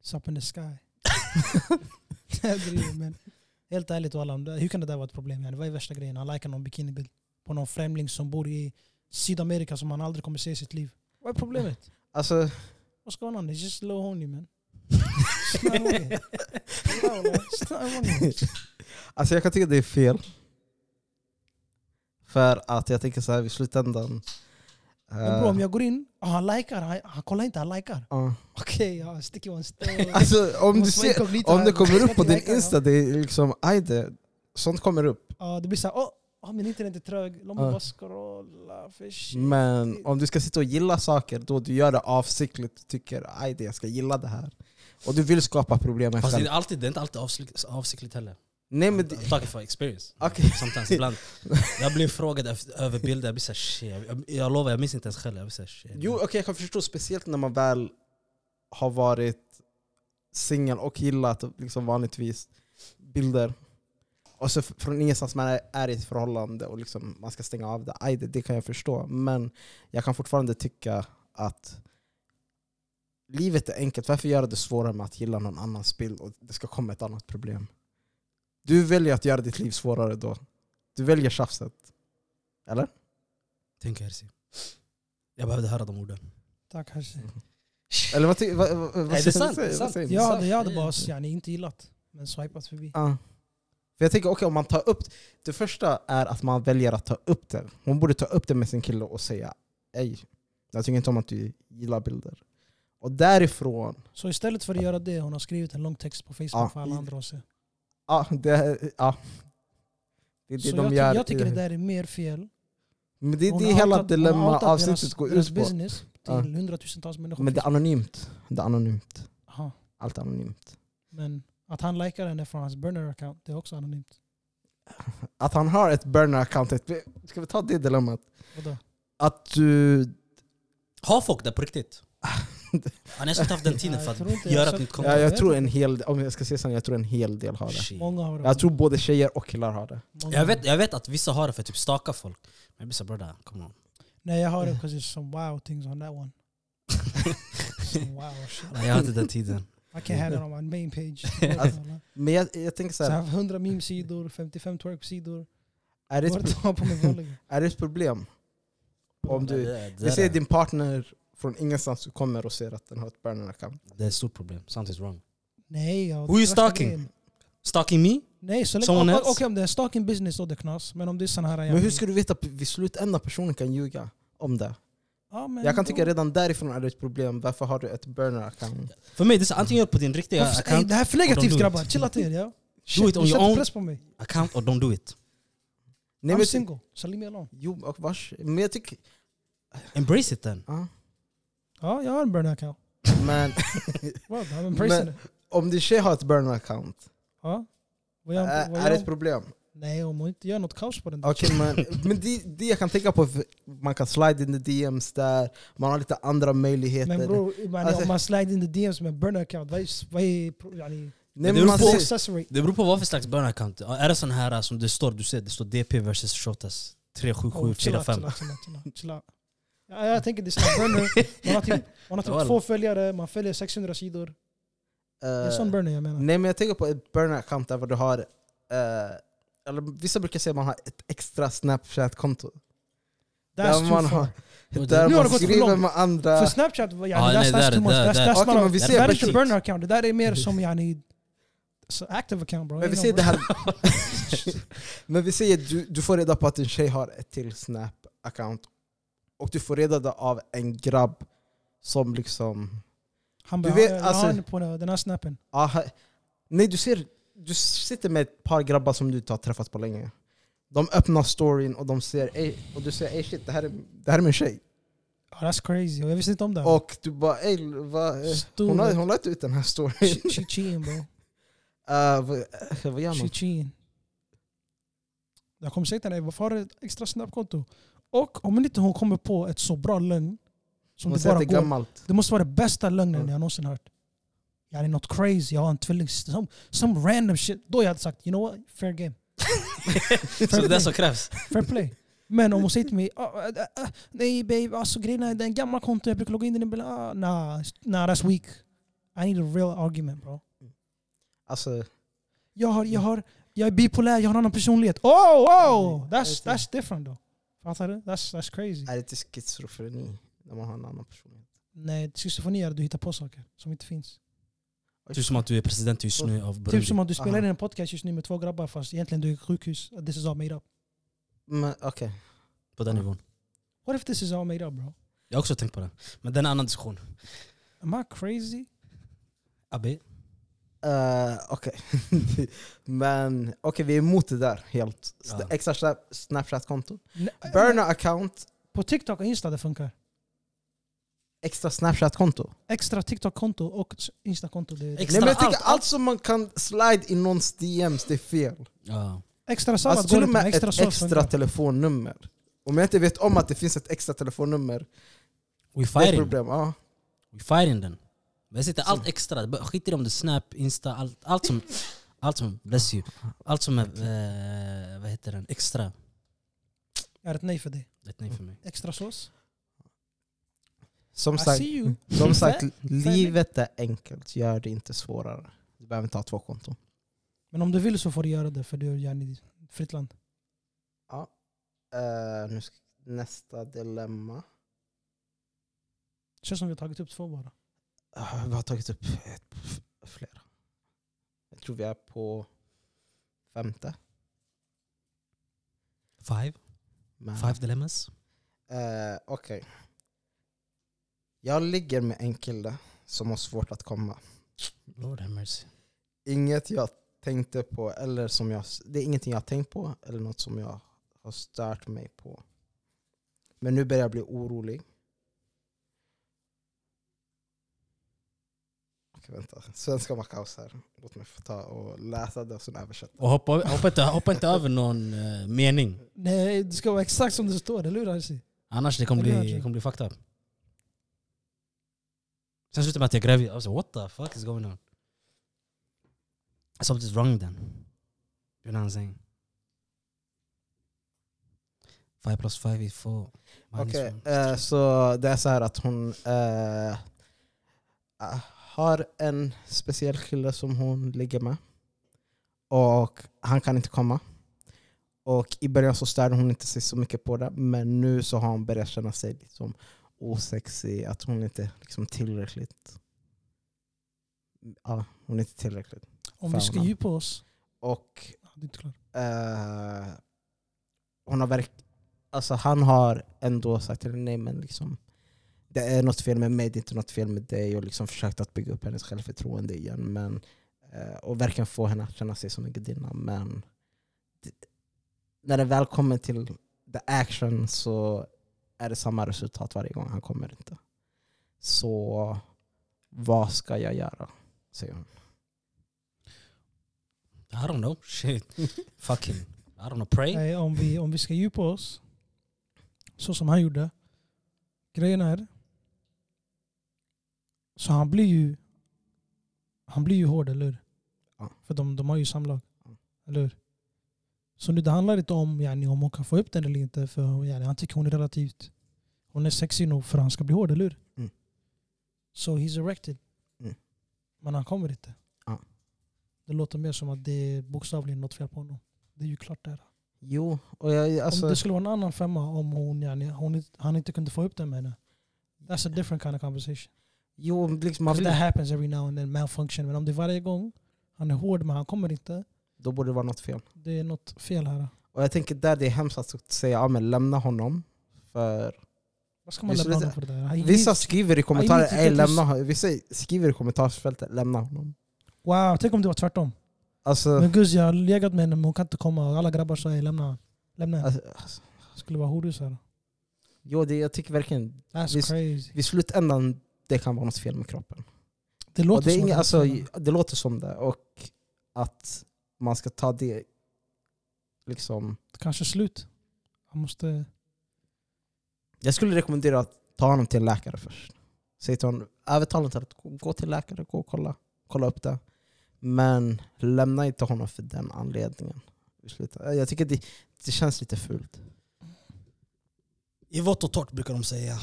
[SPEAKER 1] It's up in the sky. jag driver men helt ärligt walla, om det- hur kan det där vara ett problem? yani? Vad är värsta grejen? Han likar någon bikinibild på någon främling som bor i Sydamerika som han aldrig kommer se i sitt liv. Vad är problemet?
[SPEAKER 2] Alltså,
[SPEAKER 1] What's going on? It's just a little horny, man. It's not horny. No, man. It's not horny.
[SPEAKER 2] Alltså jag kan tycka det är fel. För att jag tänker så här i slutändan...
[SPEAKER 1] Men bro, om
[SPEAKER 2] eh,
[SPEAKER 1] jag går in, ah, han likar, han, han kollar inte, han likar.
[SPEAKER 2] ja.
[SPEAKER 1] Okej, okay, sticky one still.
[SPEAKER 2] Alltså om du
[SPEAKER 1] Måste vara
[SPEAKER 2] ser,
[SPEAKER 1] inkognito
[SPEAKER 2] om
[SPEAKER 1] här.
[SPEAKER 2] det kommer upp på din
[SPEAKER 1] Likar, ja.
[SPEAKER 2] Insta, det är liksom aj det, sånt kommer upp.
[SPEAKER 1] Ja, det blir såhär, åh, ah, min internet är trög, låt mig
[SPEAKER 2] Ja. Mm.
[SPEAKER 1] bara scrolla för shit.
[SPEAKER 2] Men om du ska sitta och gilla saker, då du gör det avsiktligt. Du tycker aj det, jag ska gilla det här. Och du vill skapa problem
[SPEAKER 3] Fast det är,
[SPEAKER 2] själv.
[SPEAKER 3] alltid, det är inte alltid avsikt- avsiktligt heller.
[SPEAKER 2] Nej men...
[SPEAKER 3] I'm talking for experience.
[SPEAKER 2] Okej.
[SPEAKER 3] Sometimes, ibland. Jag blir frågad efter- över bilder, jag blir såhär shit. Jag, jag lovar, jag minns inte ens själv. Jag blir såhär shit.
[SPEAKER 2] Jo, okej, jag kan förstå. Speciellt när man väl har varit singel och gillat liksom vanligtvis bilder. Och så f- från ingenstans man är, är i ett förhållande och liksom man ska stänga av det. Aj, det, det kan jag förstå. Men jag kan fortfarande tycka att livet är enkelt. Varför göra det svårare med att gilla någon annans bild och det ska komma ett annat problem? Du väljer att göra ditt liv svårare då. Du väljer tjafset.
[SPEAKER 3] Tänk Herzi. Jag behövde höra de orden.
[SPEAKER 1] Tack Hashi.
[SPEAKER 2] Mm. Eller vad, ty- vad, vad, vad,
[SPEAKER 3] det är
[SPEAKER 2] säger-
[SPEAKER 3] sant, det är
[SPEAKER 2] vad
[SPEAKER 3] sant.
[SPEAKER 2] säger ni?
[SPEAKER 1] Jag
[SPEAKER 3] sant.
[SPEAKER 1] hade, jag hade
[SPEAKER 3] Det är-
[SPEAKER 1] bara yani, inte gillat, men swipat förbi.
[SPEAKER 2] Ja. För jag tänker, okej om man tar upp... Det första är att man väljer att ta upp det. Hon borde ta upp det med sin kille och säga Ej, jag tycker inte om att du gillar bilder. Och därifrån,
[SPEAKER 1] Så istället för att göra det, hon har skrivit en lång text på Facebook
[SPEAKER 2] Ja.
[SPEAKER 1] för alla andra att se.
[SPEAKER 2] ja det, ja. det är det
[SPEAKER 1] Så
[SPEAKER 2] de
[SPEAKER 1] jag, ty-
[SPEAKER 2] gör.
[SPEAKER 1] jag tycker det där är mer fel.
[SPEAKER 2] Men det,
[SPEAKER 1] Hon
[SPEAKER 2] det
[SPEAKER 1] har
[SPEAKER 2] är hela
[SPEAKER 1] outat- hon har
[SPEAKER 2] dilemma
[SPEAKER 1] outat deras-
[SPEAKER 2] avsnittet går
[SPEAKER 1] deras
[SPEAKER 2] ut på.
[SPEAKER 1] business till
[SPEAKER 2] Ja.
[SPEAKER 1] hundratusentals människor.
[SPEAKER 2] Men det är anonymt. Det är anonymt.
[SPEAKER 1] Aha.
[SPEAKER 2] Allt är anonymt.
[SPEAKER 1] Men att han likar henne från hans burner account, det är också anonymt.
[SPEAKER 2] Att han har ett burner account, ska vi ta det dilemmat?
[SPEAKER 1] Vadå?
[SPEAKER 2] Att du...
[SPEAKER 3] Har folk det på riktigt? Han har inte haft den tiden
[SPEAKER 1] Ja,
[SPEAKER 3] för
[SPEAKER 1] jag tror
[SPEAKER 3] att
[SPEAKER 1] inte jag
[SPEAKER 3] göra
[SPEAKER 1] har
[SPEAKER 3] ett nytt
[SPEAKER 1] sett-
[SPEAKER 3] konto.
[SPEAKER 2] Ja, jag tror en hel, om jag ska säga sanningen, jag tror en hel del har det.
[SPEAKER 3] Shit.
[SPEAKER 1] Många har det.
[SPEAKER 2] Jag tror både tjejer och killar har det.
[SPEAKER 1] Många
[SPEAKER 3] Jag
[SPEAKER 1] har det.
[SPEAKER 3] vet, jag vet att vissa har det för att typ staka folk. Men jag blir såhär bror, come on.
[SPEAKER 1] Nej jag har det because there's some wow things on that one. some wow shit.
[SPEAKER 3] Nej, Jag har inte den tiden.
[SPEAKER 1] I can't have it on my main page.
[SPEAKER 2] Alltså, Men jag, jag tänker så
[SPEAKER 1] Så jag
[SPEAKER 2] här,
[SPEAKER 1] har 100 meme-sidor, 55 twerk-sidor.
[SPEAKER 2] är typ- det,
[SPEAKER 1] Vad
[SPEAKER 2] ett,
[SPEAKER 1] tar på mig vanliga?
[SPEAKER 2] är det ett problem? Om
[SPEAKER 3] Det,
[SPEAKER 2] du,
[SPEAKER 3] det,
[SPEAKER 2] vi
[SPEAKER 3] det,
[SPEAKER 2] säger
[SPEAKER 3] är-
[SPEAKER 2] din partner från ingenstans som kommer och ser att den har ett burner account.
[SPEAKER 3] det är ett stort problem. Something's wrong.
[SPEAKER 1] Nej. jag-
[SPEAKER 3] Who you
[SPEAKER 1] värsta
[SPEAKER 3] stalking?
[SPEAKER 1] grejen.
[SPEAKER 3] Stalking me?
[SPEAKER 1] Nej, så länge...
[SPEAKER 3] Someone
[SPEAKER 1] Okej
[SPEAKER 3] else?
[SPEAKER 1] om det är stalking business då det är knas. Men om det är sån här...
[SPEAKER 2] Men hur ska du veta p- vid slutändan personen kan ljuga om det?
[SPEAKER 1] ja, men
[SPEAKER 2] Jag kan
[SPEAKER 1] då-
[SPEAKER 2] tycka redan därifrån är det ett problem. Varför har du ett burner account?
[SPEAKER 3] För mig, det är så, antingen gör det på din riktiga
[SPEAKER 1] Varför- Ey,
[SPEAKER 3] account,
[SPEAKER 1] det här är för
[SPEAKER 3] Och de
[SPEAKER 1] negativt
[SPEAKER 3] do
[SPEAKER 1] grabbar,
[SPEAKER 3] it.
[SPEAKER 1] chilla till er. Ja.
[SPEAKER 3] do it on
[SPEAKER 1] Ni
[SPEAKER 3] your
[SPEAKER 1] sätter
[SPEAKER 3] own
[SPEAKER 1] press på mig.
[SPEAKER 3] account or don't do it.
[SPEAKER 2] Nej,
[SPEAKER 1] I'm
[SPEAKER 2] men,
[SPEAKER 1] single, så leave me alone.
[SPEAKER 2] jo, och vars, men jag tycker...
[SPEAKER 3] Embrace it then.
[SPEAKER 2] Ja.
[SPEAKER 1] Ja, jag har en burner account.
[SPEAKER 2] Men
[SPEAKER 1] Well, I'm embracing
[SPEAKER 2] Men-
[SPEAKER 1] it.
[SPEAKER 2] om din tjej har ett burner account,
[SPEAKER 1] Ja. Vad gör-
[SPEAKER 2] är,
[SPEAKER 1] vad
[SPEAKER 2] Äh, är det
[SPEAKER 1] gör-
[SPEAKER 2] ett problem?
[SPEAKER 1] Nej, om hon inte gör något kaos på den där
[SPEAKER 2] Okej, men, men det, det jag kan tänka på, är man kan slide in the DMs där, man har lite andra möjligheter.
[SPEAKER 1] Men bror, man,
[SPEAKER 2] Alltså-
[SPEAKER 1] om man slide in the DMs med burner account, vad är, vad är pro- yani,
[SPEAKER 2] Nej,
[SPEAKER 3] Det
[SPEAKER 2] men
[SPEAKER 3] beror
[SPEAKER 2] man
[SPEAKER 3] på-
[SPEAKER 1] what's the
[SPEAKER 2] ser,
[SPEAKER 1] success rate?
[SPEAKER 3] Det beror på vad för slags burn account. Är det sån här äh, som det står, du ser, det står DP versus Shotas
[SPEAKER 1] Oh,
[SPEAKER 3] 377
[SPEAKER 1] chilla,
[SPEAKER 3] 45.
[SPEAKER 1] chilla, chilla, chilla, chilla. Ja, jag tänker det är sån här burner, man har typ, man har
[SPEAKER 3] Walla.
[SPEAKER 1] typ två följare, man följer 600 sidor. Det är en
[SPEAKER 2] eh,
[SPEAKER 1] sån burner jag menar.
[SPEAKER 2] Nej men jag tänker på ett burner account där du har, eh, eller vissa brukar säga att man har ett extra snapchat-konto.
[SPEAKER 1] That's
[SPEAKER 2] där
[SPEAKER 1] too
[SPEAKER 2] man
[SPEAKER 1] far.
[SPEAKER 2] har-
[SPEAKER 3] Och det-
[SPEAKER 2] Där
[SPEAKER 1] Nu har
[SPEAKER 2] man
[SPEAKER 1] det gått för
[SPEAKER 2] skriver
[SPEAKER 1] långt.
[SPEAKER 2] med andra.
[SPEAKER 1] För Snapchat, yani,
[SPEAKER 3] Ah, nej,
[SPEAKER 1] that's,
[SPEAKER 3] där-
[SPEAKER 1] that's too much.
[SPEAKER 3] där-
[SPEAKER 1] That's,
[SPEAKER 3] där-
[SPEAKER 1] that's
[SPEAKER 2] Okej,
[SPEAKER 1] not
[SPEAKER 2] men vi
[SPEAKER 1] a,
[SPEAKER 2] ser
[SPEAKER 1] det där är
[SPEAKER 2] bättre
[SPEAKER 1] inte
[SPEAKER 2] ut.
[SPEAKER 1] burner account, det där är mer som yani, så active account bro.
[SPEAKER 2] men vi
[SPEAKER 1] Ain't no
[SPEAKER 2] säger det
[SPEAKER 1] burner.
[SPEAKER 2] här. men vi säger du, du får reda på att din tjej har ett till snap-account. Och du får reda det av en grabb som liksom...
[SPEAKER 1] Han
[SPEAKER 2] Du
[SPEAKER 1] bara,
[SPEAKER 2] vet,
[SPEAKER 1] jag
[SPEAKER 2] alltså-
[SPEAKER 1] har en på den här snappen.
[SPEAKER 2] Ah, ha- nej du ser, du sitter med ett par grabbar som du inte har träffat på länge. De öppnar storyn och de ser, "Ey," och du säger ey shit det här är, det här är min tjej.
[SPEAKER 1] Oh, that's crazy, jag visste inte om det.
[SPEAKER 2] Och du bara ey, vad- eh,
[SPEAKER 1] Stor.
[SPEAKER 2] hon, har, hon la inte ut den här storyn.
[SPEAKER 1] She, she cheating bro.
[SPEAKER 2] Eh, vad, eh, vad gör man?
[SPEAKER 1] She cheating. Jag kommer säga till henne, varför har du ett extra snabbkonto? Och om inte hon kommer på ett så bra lögn som
[SPEAKER 2] Hon
[SPEAKER 1] det
[SPEAKER 2] säger
[SPEAKER 1] bara
[SPEAKER 2] att det är
[SPEAKER 1] går.
[SPEAKER 2] gammalt.
[SPEAKER 1] Det måste vara den bästa lögnen
[SPEAKER 2] Ja.
[SPEAKER 1] jag någonsin hört. Jag är något crazy, jag har en tvilling, some, some random shit. Då jag hade sagt, you know what, fair game.
[SPEAKER 3] Så det är det som krävs.
[SPEAKER 1] Fair play. Men om hon säger till mig, "Ah, äh, äh, nej babe, alltså grejen är, det är en gammal konto, jag brukar logga in den ibland. Ah, nah, nah, that's weak. I need a real argument bro.
[SPEAKER 2] Alltså,
[SPEAKER 1] Jag har,
[SPEAKER 2] Mm.
[SPEAKER 1] jag har, jag är bipolär, jag har en annan personlighet. Oh, wow! That's,
[SPEAKER 2] Nej, jag vet
[SPEAKER 1] that's different though. Fattar du? That's, that's crazy.
[SPEAKER 2] är det inte schizofreni när man har en annan person?
[SPEAKER 1] Nej, schizofreni är att du hittar på saker som inte finns.
[SPEAKER 3] Typ som att du är president just nu av Burundi.
[SPEAKER 1] Typ som att du spelar
[SPEAKER 2] Aha.
[SPEAKER 1] in en podcast just nu med två grabbar fast egentligen du är i sjukhus. This is all made up.
[SPEAKER 2] Men okej.
[SPEAKER 3] På den nivån.
[SPEAKER 1] What if this is all made up bro?
[SPEAKER 3] Jag har också tänkt på det. Men det är en annan diskussion.
[SPEAKER 1] Am I crazy?
[SPEAKER 3] Abbe,
[SPEAKER 2] Eh, okej. Men okej, vi är emot det där helt. S-
[SPEAKER 3] Ja.
[SPEAKER 2] Extra sna- Snapchat-konto.
[SPEAKER 1] Ne-
[SPEAKER 2] Burna account,
[SPEAKER 1] äh, På TikTok och Insta det funkar.
[SPEAKER 2] extra Snapchat-konto.
[SPEAKER 1] Extra TikTok-konto och s- Insta-konto. Det, det.
[SPEAKER 3] Ex-
[SPEAKER 2] Nej men jag
[SPEAKER 3] allt,
[SPEAKER 2] tycker allt, som man kan slide i någons DMs, det är fel.
[SPEAKER 3] Ja.
[SPEAKER 1] Extra sallad
[SPEAKER 2] Alltså till
[SPEAKER 1] går
[SPEAKER 2] och
[SPEAKER 1] inte, men
[SPEAKER 2] med
[SPEAKER 1] extra
[SPEAKER 2] ett
[SPEAKER 1] sås
[SPEAKER 2] extra
[SPEAKER 1] funkar.
[SPEAKER 2] telefonnummer. Om jag inte vet om att det finns ett extra telefonnummer,
[SPEAKER 3] We
[SPEAKER 2] det är ett
[SPEAKER 3] fighting.
[SPEAKER 2] problem. Ja.
[SPEAKER 3] We fighting den. Men sitter allt extra. Bara Skit i om det är Snap, Insta, allt, allt som... Allt som, bless you. Allt som är, eh, vad heter den, extra.
[SPEAKER 1] Jag har ett nej för det.
[SPEAKER 3] Det är ett nej för mig.
[SPEAKER 1] Extra sås.
[SPEAKER 2] Som
[SPEAKER 1] I
[SPEAKER 2] sagt, Mm.
[SPEAKER 1] see you.
[SPEAKER 2] som sagt
[SPEAKER 1] Fem-
[SPEAKER 2] livet är enkelt. Gör det inte svårare. Du behöver inte ha två konton.
[SPEAKER 1] Men om du vill så får du göra det för du är yani fritt land.
[SPEAKER 2] Eh, nu ska, nästa dilemma.
[SPEAKER 1] Det känns som vi har tagit upp två bara.
[SPEAKER 2] Ah, vi har tagit upp ett, f- flera. Jag tror vi är på femte.
[SPEAKER 3] Five?
[SPEAKER 2] Men,
[SPEAKER 3] Five dilemmas?
[SPEAKER 2] Eh, Okej. Jag ligger med en kille som har svårt att komma.
[SPEAKER 3] Lord have mercy.
[SPEAKER 2] Inget jag tänkte på eller som jag... Det är ingenting jag har tänkt på eller något som jag har stört mig på. Men nu börjar jag bli orolig. Okej, vänta. Svenska var kaos här. Låt mig få ta och läsa det och sen översätta.
[SPEAKER 3] Och hoppa, hoppa, inte, hoppa inte över någon eh, mening.
[SPEAKER 1] Nej, det ska vara exakt som det står, eller hur Arsi?
[SPEAKER 3] Annars det kommer
[SPEAKER 1] Ja, det
[SPEAKER 3] bli,
[SPEAKER 1] hörde jag.
[SPEAKER 3] det kommer bli fucked up. Sen slutar med att jag gräver. I was like, what the fuck is going on? Something's wrong then. You know what I'm saying? Five plus five is four. Minus
[SPEAKER 2] Okej,
[SPEAKER 3] one.
[SPEAKER 2] eh, så det är så här att hon eh, ah, har en speciell kille som hon ligger med. Och han kan inte komma. Och i början så störde hon inte sig så mycket på det, men nu så har hon börjat känna sig liksom osexig, att hon inte är liksom tillräckligt. Ja, hon är inte tillräckligt.
[SPEAKER 1] Om vi
[SPEAKER 2] Fan,
[SPEAKER 1] ska
[SPEAKER 2] man.
[SPEAKER 1] djupa oss.
[SPEAKER 2] Och
[SPEAKER 1] Ja, Det är inte klart.
[SPEAKER 2] eh, hon har verk alltså han har ändå sagt till henne, nej men liksom det är något fel med mig, det är inte något fel med dig och liksom försökt att bygga upp hennes självförtroende igen men, eh, och verkligen få henne att känna sig som en gudinna men det, när det väl kommer till the action så är det samma resultat varje gång, han kommer inte. Så vad ska jag göra? säger hon.
[SPEAKER 3] I don't know. Shit. Fucking. I don't know. Pray?
[SPEAKER 1] Nej, om vi, om vi ska djupa oss, så som han gjorde. Grejen är, så han blir ju han blir ju hård, eller hur?
[SPEAKER 2] Ja.
[SPEAKER 1] För de, de har ju samlag.
[SPEAKER 2] Ja.
[SPEAKER 1] Eller hur? Så nu det handlar inte om yani, om hon kan få upp den eller inte, för yani, han tycker hon är relativt hon är sexig nog för att han ska bli hård, eller hur?
[SPEAKER 2] Mm.
[SPEAKER 1] So he's erected.
[SPEAKER 2] Mm.
[SPEAKER 1] Men han kommer inte.
[SPEAKER 2] Ja.
[SPEAKER 1] Det låter mer som att det är bokstavligen något fel på honom. Det är ju klart det är.
[SPEAKER 2] Jo, och jag, alltså,
[SPEAKER 1] om det skulle vara en annan femma om hon, yani, hon, inte- han inte kunde få upp den med henne. That's a different kind of conversation.
[SPEAKER 2] jo, liksom, man
[SPEAKER 1] Because
[SPEAKER 2] vill
[SPEAKER 1] that happens every now and then, malfunction. Men om det är varje gång, han är hård men han kommer inte,
[SPEAKER 2] då borde det vara något fel.
[SPEAKER 1] det är något fel här.
[SPEAKER 2] Och jag tänker där det är hemskt att säga ja, men lämna honom. För
[SPEAKER 1] Vad ska man
[SPEAKER 2] Visst,
[SPEAKER 1] lämna
[SPEAKER 2] det-
[SPEAKER 1] honom för det där? Han-
[SPEAKER 2] vissa skriver i kommentarer
[SPEAKER 1] tycker
[SPEAKER 2] "Ey,
[SPEAKER 1] att du-
[SPEAKER 2] lämna honom." Vissa skriver i kommentarsfältet lämna honom.
[SPEAKER 1] Wow, tänk om det var tvärtom.
[SPEAKER 2] Alltså,
[SPEAKER 1] Men gud, jag har legat med henne men hon kan inte komma och alla grabbar säger lämna henne. Lämna henne.
[SPEAKER 2] alltså, alltså
[SPEAKER 1] Det skulle vara horus här.
[SPEAKER 2] jo, det, jag tycker verkligen
[SPEAKER 1] That's
[SPEAKER 2] Visst.
[SPEAKER 1] crazy.
[SPEAKER 2] vid slutändan det kan vara något fel med kroppen.
[SPEAKER 1] Det
[SPEAKER 2] Och
[SPEAKER 1] låter
[SPEAKER 2] det, är
[SPEAKER 1] som
[SPEAKER 2] inga,
[SPEAKER 1] att-
[SPEAKER 2] alltså, det låter som det och att man ska ta det liksom.
[SPEAKER 1] kanske slut. Han måste...
[SPEAKER 2] Jag skulle rekommendera att ta honom till en läkare först. Säg till honom, övertala honom till att gå- gå till läkare, gå och kolla, kolla upp det. Men lämna inte honom för den anledningen. i slutet. Jag tycker det, det känns lite fult.
[SPEAKER 3] I vått och torrt brukar de säga.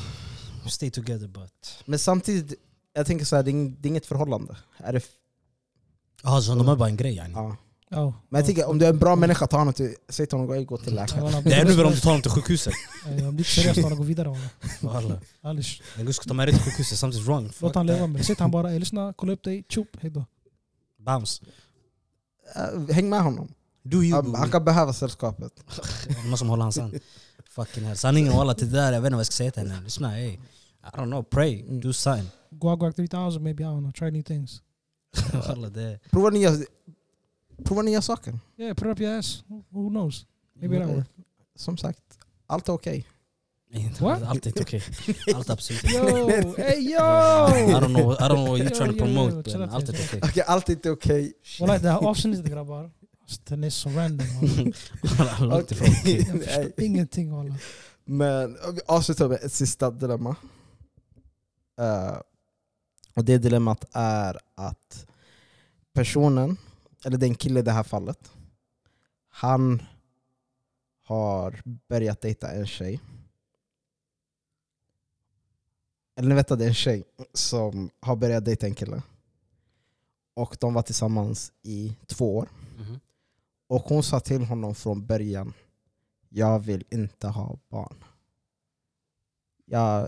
[SPEAKER 3] Stay together but...
[SPEAKER 2] Men samtidigt, jag tänker så här, det är ing- det är inget förhållande. Är det, f-
[SPEAKER 3] Ja, så de är bara en grej yani.
[SPEAKER 2] ja.
[SPEAKER 1] Ja.
[SPEAKER 2] Men jag tänker om du är en bra människa, ta honom till, säg till honom gå- gå till läkare.
[SPEAKER 1] Ja,
[SPEAKER 3] Det är ännu värre om du tar dem till sjukhuset.
[SPEAKER 1] Eh, Om det inte är seriöst, bara gå vidare. va?
[SPEAKER 3] Walla.
[SPEAKER 1] Annars,
[SPEAKER 3] Den gud ska ta med dig till sjukhuset, something's wrong. Fuck
[SPEAKER 1] låt han
[SPEAKER 3] that.
[SPEAKER 1] leva med det. Sitt han bara, "Ey, lyssna, kolla upp dig, tjopp, hejdå.
[SPEAKER 3] Bounce.
[SPEAKER 2] Äh, Häng med honom.
[SPEAKER 3] Do you
[SPEAKER 2] Han- Han
[SPEAKER 3] boo.
[SPEAKER 2] kan behöva sällskapet.
[SPEAKER 3] Det är någon som håller hans hand. Fucking hell. Sanningen walla till det där, jag vet inte vad jag ska säga till henne. Lyssna ey. I don't know, pray. Do something.
[SPEAKER 1] Guagua 3000 maybe, I don't know, try new things.
[SPEAKER 3] Alla, det,
[SPEAKER 2] Prova nya, prova nya saker. Eh,
[SPEAKER 1] Yeah, put it up your ass. Who- Who knows? Maybe that works.
[SPEAKER 2] Som sagt, allt är okej.
[SPEAKER 1] What?
[SPEAKER 3] allt är inte okej. Allt är absolut inte okej.
[SPEAKER 1] Yo, hey yo!
[SPEAKER 3] I don't know, I don't know what you're
[SPEAKER 1] Yo,
[SPEAKER 3] trying
[SPEAKER 1] yo, yo,
[SPEAKER 3] to promote
[SPEAKER 1] chill
[SPEAKER 3] men
[SPEAKER 1] out,
[SPEAKER 3] allt är
[SPEAKER 1] chill
[SPEAKER 3] inte okej.
[SPEAKER 2] Okej, allt är inte okej.
[SPEAKER 1] Wallah, det här avsnittet grabbar. Alltså, Den är så random. wallah.
[SPEAKER 3] Långt ifrån
[SPEAKER 2] Okej.
[SPEAKER 3] okej.
[SPEAKER 1] Jag förstår
[SPEAKER 2] Nej.
[SPEAKER 1] ingenting wallah.
[SPEAKER 2] Men vi avslutar med ett sista dilemma. Eh, och det dilemmat är att personen, eller den kille i det här fallet, han har börjat dejta en tjej. Eller ni vet att det är en tjej som har börjat dejta en kille. Och de var tillsammans i två år.
[SPEAKER 3] Mhm.
[SPEAKER 2] Och hon sa till honom från början, jag vill inte ha barn. Jag,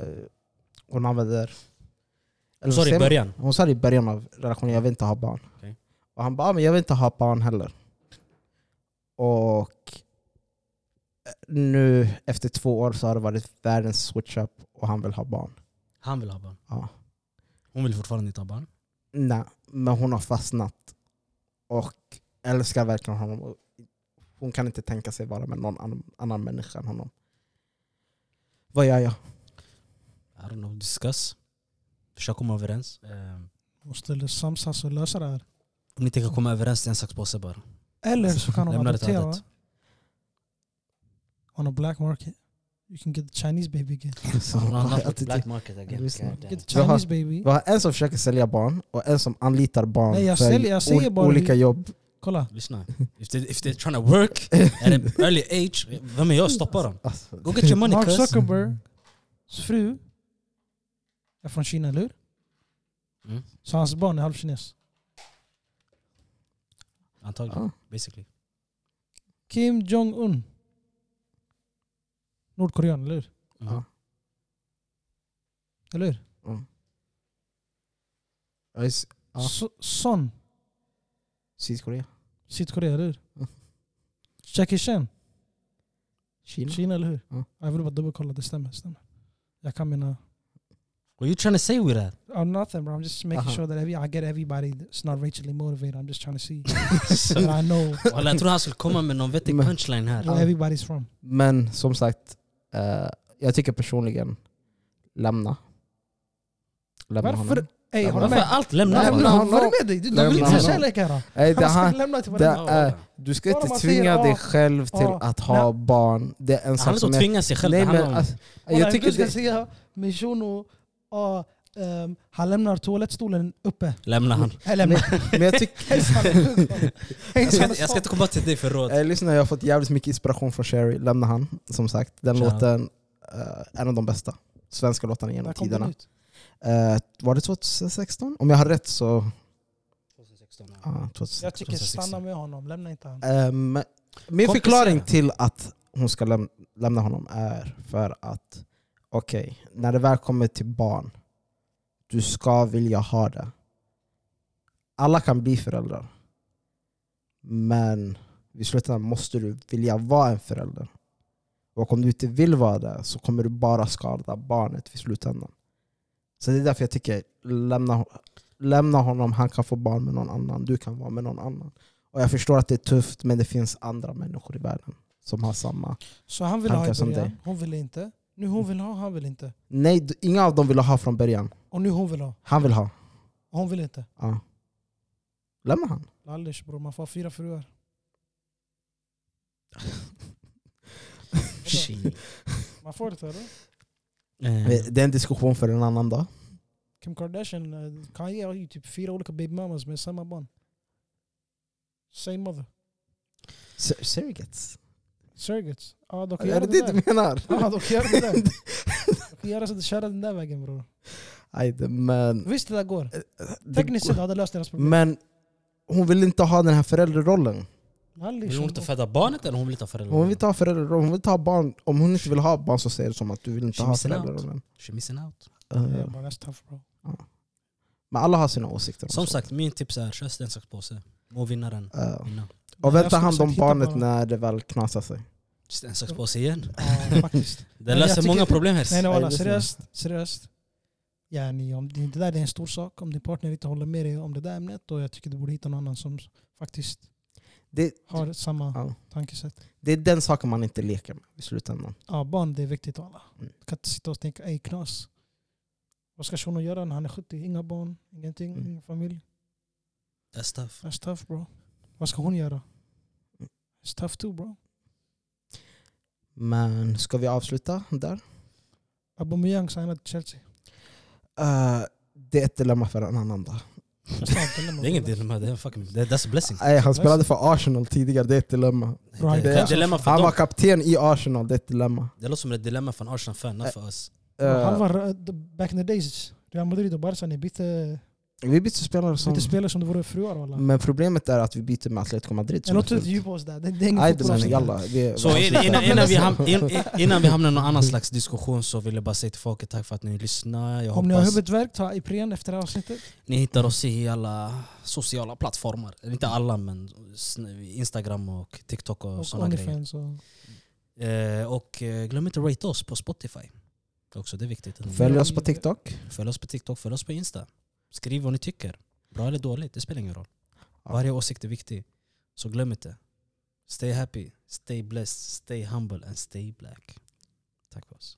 [SPEAKER 2] hon använder... Eller
[SPEAKER 3] Sorry,
[SPEAKER 2] säger
[SPEAKER 3] i
[SPEAKER 2] man-
[SPEAKER 3] början.
[SPEAKER 2] Hon sa det i början av relationen, jag vill inte ha barn.
[SPEAKER 3] Okej.
[SPEAKER 2] Och han bara, "Ja, men jag vill inte ha barn heller. Och eh, nu efter två år så har det varit världens switch-up och han vill ha barn.
[SPEAKER 3] Han vill ha barn.
[SPEAKER 2] Ja.
[SPEAKER 3] Hon vill fortfarande inte ha barn.
[SPEAKER 2] Nej, men hon har fastnat och älskar verkligen honom. Och Hon kan inte tänka sig vara med någon annan, annan människa än honom. Vad gör jag?
[SPEAKER 3] I don't know, discuss. Försök komma överens. Ehm,
[SPEAKER 1] Måste samsas och lösa det här.
[SPEAKER 3] Om ni inte kan komma överens, det är en sax påse bara.
[SPEAKER 1] Eller så kan hon
[SPEAKER 3] Lämna det till
[SPEAKER 1] adoptera.
[SPEAKER 3] ödet.
[SPEAKER 1] On a black market. You can get the Chinese baby again.
[SPEAKER 3] Hon har hamnat på
[SPEAKER 2] Attityd.
[SPEAKER 3] black market again.
[SPEAKER 2] Lyssna.
[SPEAKER 3] God damn.
[SPEAKER 1] Get the Chinese baby.
[SPEAKER 2] Vi har en som försöker sälja barn och en som anlitar barn
[SPEAKER 1] Nej, jag
[SPEAKER 2] för
[SPEAKER 1] säljer- jag säger
[SPEAKER 2] ol-
[SPEAKER 1] bara-
[SPEAKER 2] olika jobb.
[SPEAKER 1] Kolla.
[SPEAKER 3] Lyssna. If, they, if they're trying to work at an early age, vem är jag? Stoppa dem.
[SPEAKER 2] Alltså,
[SPEAKER 3] Go get your money
[SPEAKER 1] Mark
[SPEAKER 3] cuz.
[SPEAKER 1] Zuckerbergs fru är från Kina, eller hur?
[SPEAKER 3] Mm.
[SPEAKER 1] Så hans barn är halvkines.
[SPEAKER 3] Antagligen,
[SPEAKER 2] ja.
[SPEAKER 3] basically.
[SPEAKER 1] Kim Jong-Un. Nordkorean, eller hur?
[SPEAKER 3] Mm.
[SPEAKER 2] Ja.
[SPEAKER 1] Eller hur?
[SPEAKER 2] Ja, i S- Ja.
[SPEAKER 1] So- son,
[SPEAKER 2] Sydkorea,
[SPEAKER 1] Sydkorea, eller hur?
[SPEAKER 2] Mm.
[SPEAKER 1] Jackie Chan,
[SPEAKER 2] Kina.
[SPEAKER 1] Kina, eller hur?
[SPEAKER 2] Mm.
[SPEAKER 1] Jag vill bara dubbelkolla, det stämmer. stämmer. Jag kan mina...
[SPEAKER 3] What are you trying to say with that?
[SPEAKER 1] Oh, nothing bro, I'm just making
[SPEAKER 2] Aha.
[SPEAKER 1] sure that every, I get everybody that's not racially motivated. I'm just trying to see that I know
[SPEAKER 3] Walla, jag tror han skulle komma med någon vettig
[SPEAKER 2] Men-
[SPEAKER 3] punchline här.
[SPEAKER 1] where everybody's from.
[SPEAKER 2] Men som sagt, eh, jag tycker personligen, lämna. Lämna
[SPEAKER 1] Varför?
[SPEAKER 2] honom.
[SPEAKER 1] Ey, har du
[SPEAKER 3] Varför är
[SPEAKER 1] med?
[SPEAKER 3] allt lämna?
[SPEAKER 2] Nej,
[SPEAKER 1] Lämna
[SPEAKER 2] Lämna
[SPEAKER 3] honom?
[SPEAKER 1] honom!
[SPEAKER 2] honom.
[SPEAKER 1] Vad är det med dig? Du du vill inte ha
[SPEAKER 2] Lämna
[SPEAKER 1] kärlek här. då.
[SPEAKER 2] Nej, det,
[SPEAKER 1] Han
[SPEAKER 2] han,
[SPEAKER 1] ska lämna till
[SPEAKER 2] det
[SPEAKER 1] varandra.
[SPEAKER 2] är, du ska
[SPEAKER 1] Bara
[SPEAKER 2] inte
[SPEAKER 1] man
[SPEAKER 2] tvinga
[SPEAKER 1] säger,
[SPEAKER 2] dig
[SPEAKER 1] "Ah,
[SPEAKER 2] själv till
[SPEAKER 1] ah,
[SPEAKER 2] att ha barn. Det är en
[SPEAKER 3] Han
[SPEAKER 2] sak
[SPEAKER 3] vill
[SPEAKER 2] som
[SPEAKER 3] inte
[SPEAKER 2] jag...
[SPEAKER 3] tvinga sig själv.
[SPEAKER 2] Nej,
[SPEAKER 3] det handlar
[SPEAKER 2] men,
[SPEAKER 3] om-
[SPEAKER 2] alltså,
[SPEAKER 1] Jag
[SPEAKER 2] jag tycker
[SPEAKER 1] du ska
[SPEAKER 2] det,
[SPEAKER 1] säga med shuno, ah, ehm, han lämnar toalettstolen uppe.
[SPEAKER 2] alltså-
[SPEAKER 3] lämna han.
[SPEAKER 1] Eller med
[SPEAKER 2] men jag tycker...
[SPEAKER 1] hälsan i ryggen.
[SPEAKER 3] Jag ska, jag ska inte komma till dig för råd.
[SPEAKER 2] Eh, lyssna, jag har fått jävligt mycket inspiration från Sherry, Lämna han, som sagt. Den
[SPEAKER 3] Tja.
[SPEAKER 2] låten eh, är en av de bästa svenska låtarna
[SPEAKER 1] Där
[SPEAKER 2] genom
[SPEAKER 1] kom den
[SPEAKER 2] tiderna.
[SPEAKER 1] ut.
[SPEAKER 2] Eh, var det 2016? Om jag har rätt så... Ja,
[SPEAKER 1] Jag
[SPEAKER 2] 2016.
[SPEAKER 1] tycker stanna med honom, lämna inte honom.
[SPEAKER 2] Ehm, min
[SPEAKER 3] Komplicera.
[SPEAKER 2] förklaring till att hon ska läm- lämna honom är för att, okej, när det väl kommer till barn, du ska vilja ha det. Alla kan bli föräldrar. Men i slutändan måste du vilja vara en förälder. Och om du inte vill vara det så kommer du bara skada barnet i slutändan. Så det är därför jag tycker, lämna, lämna honom, han kan få barn med någon annan, du kan vara med någon annan. Och jag förstår att det är tufft, men det finns andra människor i världen som har samma.
[SPEAKER 1] Så han ville ha
[SPEAKER 2] Tankar
[SPEAKER 1] i
[SPEAKER 2] som
[SPEAKER 1] början,
[SPEAKER 2] dig.
[SPEAKER 1] hon ville inte. Nu hon vill ha, han vill inte.
[SPEAKER 2] Nej, d- inga av dem vill ha från början.
[SPEAKER 1] Och nu hon vill ha,
[SPEAKER 2] Han vill ha.
[SPEAKER 1] och hon vill inte.
[SPEAKER 2] Ja. Lämna han.
[SPEAKER 1] Lallish bror, man får ha fyra fruar.
[SPEAKER 3] Shit.
[SPEAKER 1] Man får det eller?
[SPEAKER 3] Eh,
[SPEAKER 2] Det är en diskussion för en annan dag.
[SPEAKER 1] Kim Kardashian, eh, Kanye har ju typ fyra olika baby mamas med samma barn. Same mother.
[SPEAKER 2] Sur- Surrogates?
[SPEAKER 1] Surrogates. Ja, de kan
[SPEAKER 2] Är
[SPEAKER 1] göra
[SPEAKER 2] det
[SPEAKER 1] det
[SPEAKER 2] det
[SPEAKER 1] där.
[SPEAKER 2] du menar?
[SPEAKER 1] Ja, de kan göra det där. De kan göra så att köra den där vägen bror.
[SPEAKER 2] Nej, det- men...
[SPEAKER 1] Visst det där går.
[SPEAKER 2] Mm. det
[SPEAKER 1] Tekniskt
[SPEAKER 2] går-
[SPEAKER 1] sett hade det löst deras problem.
[SPEAKER 2] Men hon vill inte ha den här föräldrarollen. Mm.
[SPEAKER 1] Lallish,
[SPEAKER 3] Vill hon inte föda barnet eller hon vill inte ha föräldrar?
[SPEAKER 2] Hon
[SPEAKER 1] Mm.
[SPEAKER 2] vill inte ha föräldrarollen. Hon vill inte ha barn. Om hon inte vill ha barn så säger det som att du vill inte ha
[SPEAKER 3] Missing out.
[SPEAKER 2] föräldrarollen.
[SPEAKER 3] She missing out.
[SPEAKER 1] Yeah,
[SPEAKER 2] Eh,
[SPEAKER 1] bro, that's tough bro.
[SPEAKER 2] Men alla har sina åsikter. om
[SPEAKER 3] Som
[SPEAKER 2] sånt.
[SPEAKER 3] sagt, min tips är kör en sax påse. Må vinnaren
[SPEAKER 2] Eh,
[SPEAKER 3] vinna.
[SPEAKER 2] Och
[SPEAKER 1] Jag
[SPEAKER 2] vem tar
[SPEAKER 1] skulle
[SPEAKER 2] hand om
[SPEAKER 1] sagt hitta
[SPEAKER 2] barnet
[SPEAKER 1] bara-
[SPEAKER 2] när det väl knasar sig?
[SPEAKER 3] En sax påse igen.
[SPEAKER 1] Ja, faktiskt.
[SPEAKER 3] Det
[SPEAKER 1] jag
[SPEAKER 3] löser
[SPEAKER 1] tycker-
[SPEAKER 3] många problem här.
[SPEAKER 1] Nej, nej,
[SPEAKER 2] Nej,
[SPEAKER 1] walla,
[SPEAKER 2] det är
[SPEAKER 1] seriöst. seriöst. yani, om det, det där är en stor sak, om din partner inte håller med dig om det där ämnet, då jag tycker du borde hitta någon annan som s- faktiskt
[SPEAKER 2] Det,
[SPEAKER 1] har samma
[SPEAKER 2] Ja.
[SPEAKER 1] tankesätt.
[SPEAKER 2] det är den saken man inte leker med i slutändan.
[SPEAKER 1] Ja, barn det är viktigt och alla.
[SPEAKER 2] Mm.
[SPEAKER 1] Du kan inte sitta och tänka, ej knas. Vad ska shunon göra när han är 70? Inga barn, ingenting,
[SPEAKER 2] Mm.
[SPEAKER 1] ingen familj.
[SPEAKER 3] That's tough.
[SPEAKER 1] That's tough bro. Vad ska hon göra?
[SPEAKER 2] Mm.
[SPEAKER 1] It's tough too bro.
[SPEAKER 2] Men ska vi avsluta där?
[SPEAKER 1] Aubameyang signade till Chelsea.
[SPEAKER 2] Eh, det är ett dilemma för en annan dag.
[SPEAKER 1] Jag sa inte lämna
[SPEAKER 3] Det är inget
[SPEAKER 1] bollen.
[SPEAKER 3] dilemma, det är fucking, det, that's a blessing.
[SPEAKER 2] Nej, han spelade för Arsenal tidigare, det är ett dilemma.
[SPEAKER 1] Bro, han
[SPEAKER 3] Det är
[SPEAKER 2] är-
[SPEAKER 3] ett dilemma för
[SPEAKER 2] Han var
[SPEAKER 3] dem.
[SPEAKER 2] kapten i Arsenal, det är ett dilemma.
[SPEAKER 3] Det låter som ett dilemma för en Arsenal-fan, not för oss.
[SPEAKER 1] Och
[SPEAKER 2] Eh,
[SPEAKER 1] Halva ra- the- back in the days, Real Madrid och Barca, ni bytte,
[SPEAKER 2] vi byter spelare som...
[SPEAKER 1] bytte spelare som det vore fruar walla.
[SPEAKER 3] Mm,
[SPEAKER 2] Men problemet är att vi byter med Atletico Madrid.
[SPEAKER 1] Jag
[SPEAKER 2] som är
[SPEAKER 1] låter inte
[SPEAKER 2] fullt.
[SPEAKER 1] djupa oss där. Det, det är ingen
[SPEAKER 2] Nej, men
[SPEAKER 1] fotbollsavsnitt.
[SPEAKER 2] jalla. vi-
[SPEAKER 3] Så
[SPEAKER 2] vi
[SPEAKER 3] innan, innan,
[SPEAKER 2] avslutar.
[SPEAKER 3] vi ham- in, in- innan vi hamnar i någon annan slags diskussion så vill jag bara säga till folket tack för att ni lyssnar. Jag
[SPEAKER 1] Om ni har
[SPEAKER 3] hoppas
[SPEAKER 1] huvudvärk, ta Ipren efter det här avsnittet.
[SPEAKER 3] ni hittar oss i alla sociala plattformar. Inte alla men sn- Instagram och TikTok och,
[SPEAKER 1] Och
[SPEAKER 3] sådana grejer.
[SPEAKER 1] Onlyfans och...
[SPEAKER 3] Eh, och eh, glöm inte att rate oss på Spotify. Också det är viktigt.
[SPEAKER 2] Följ oss på TikTok.
[SPEAKER 3] Följ oss på TikTok, följ oss på Insta. Skriv vad ni tycker. Bra eller dåligt, det spelar ingen roll. Varje åsikt är viktig. Så glöm inte. Stay happy, stay blessed, stay humble and stay black. Tack för oss.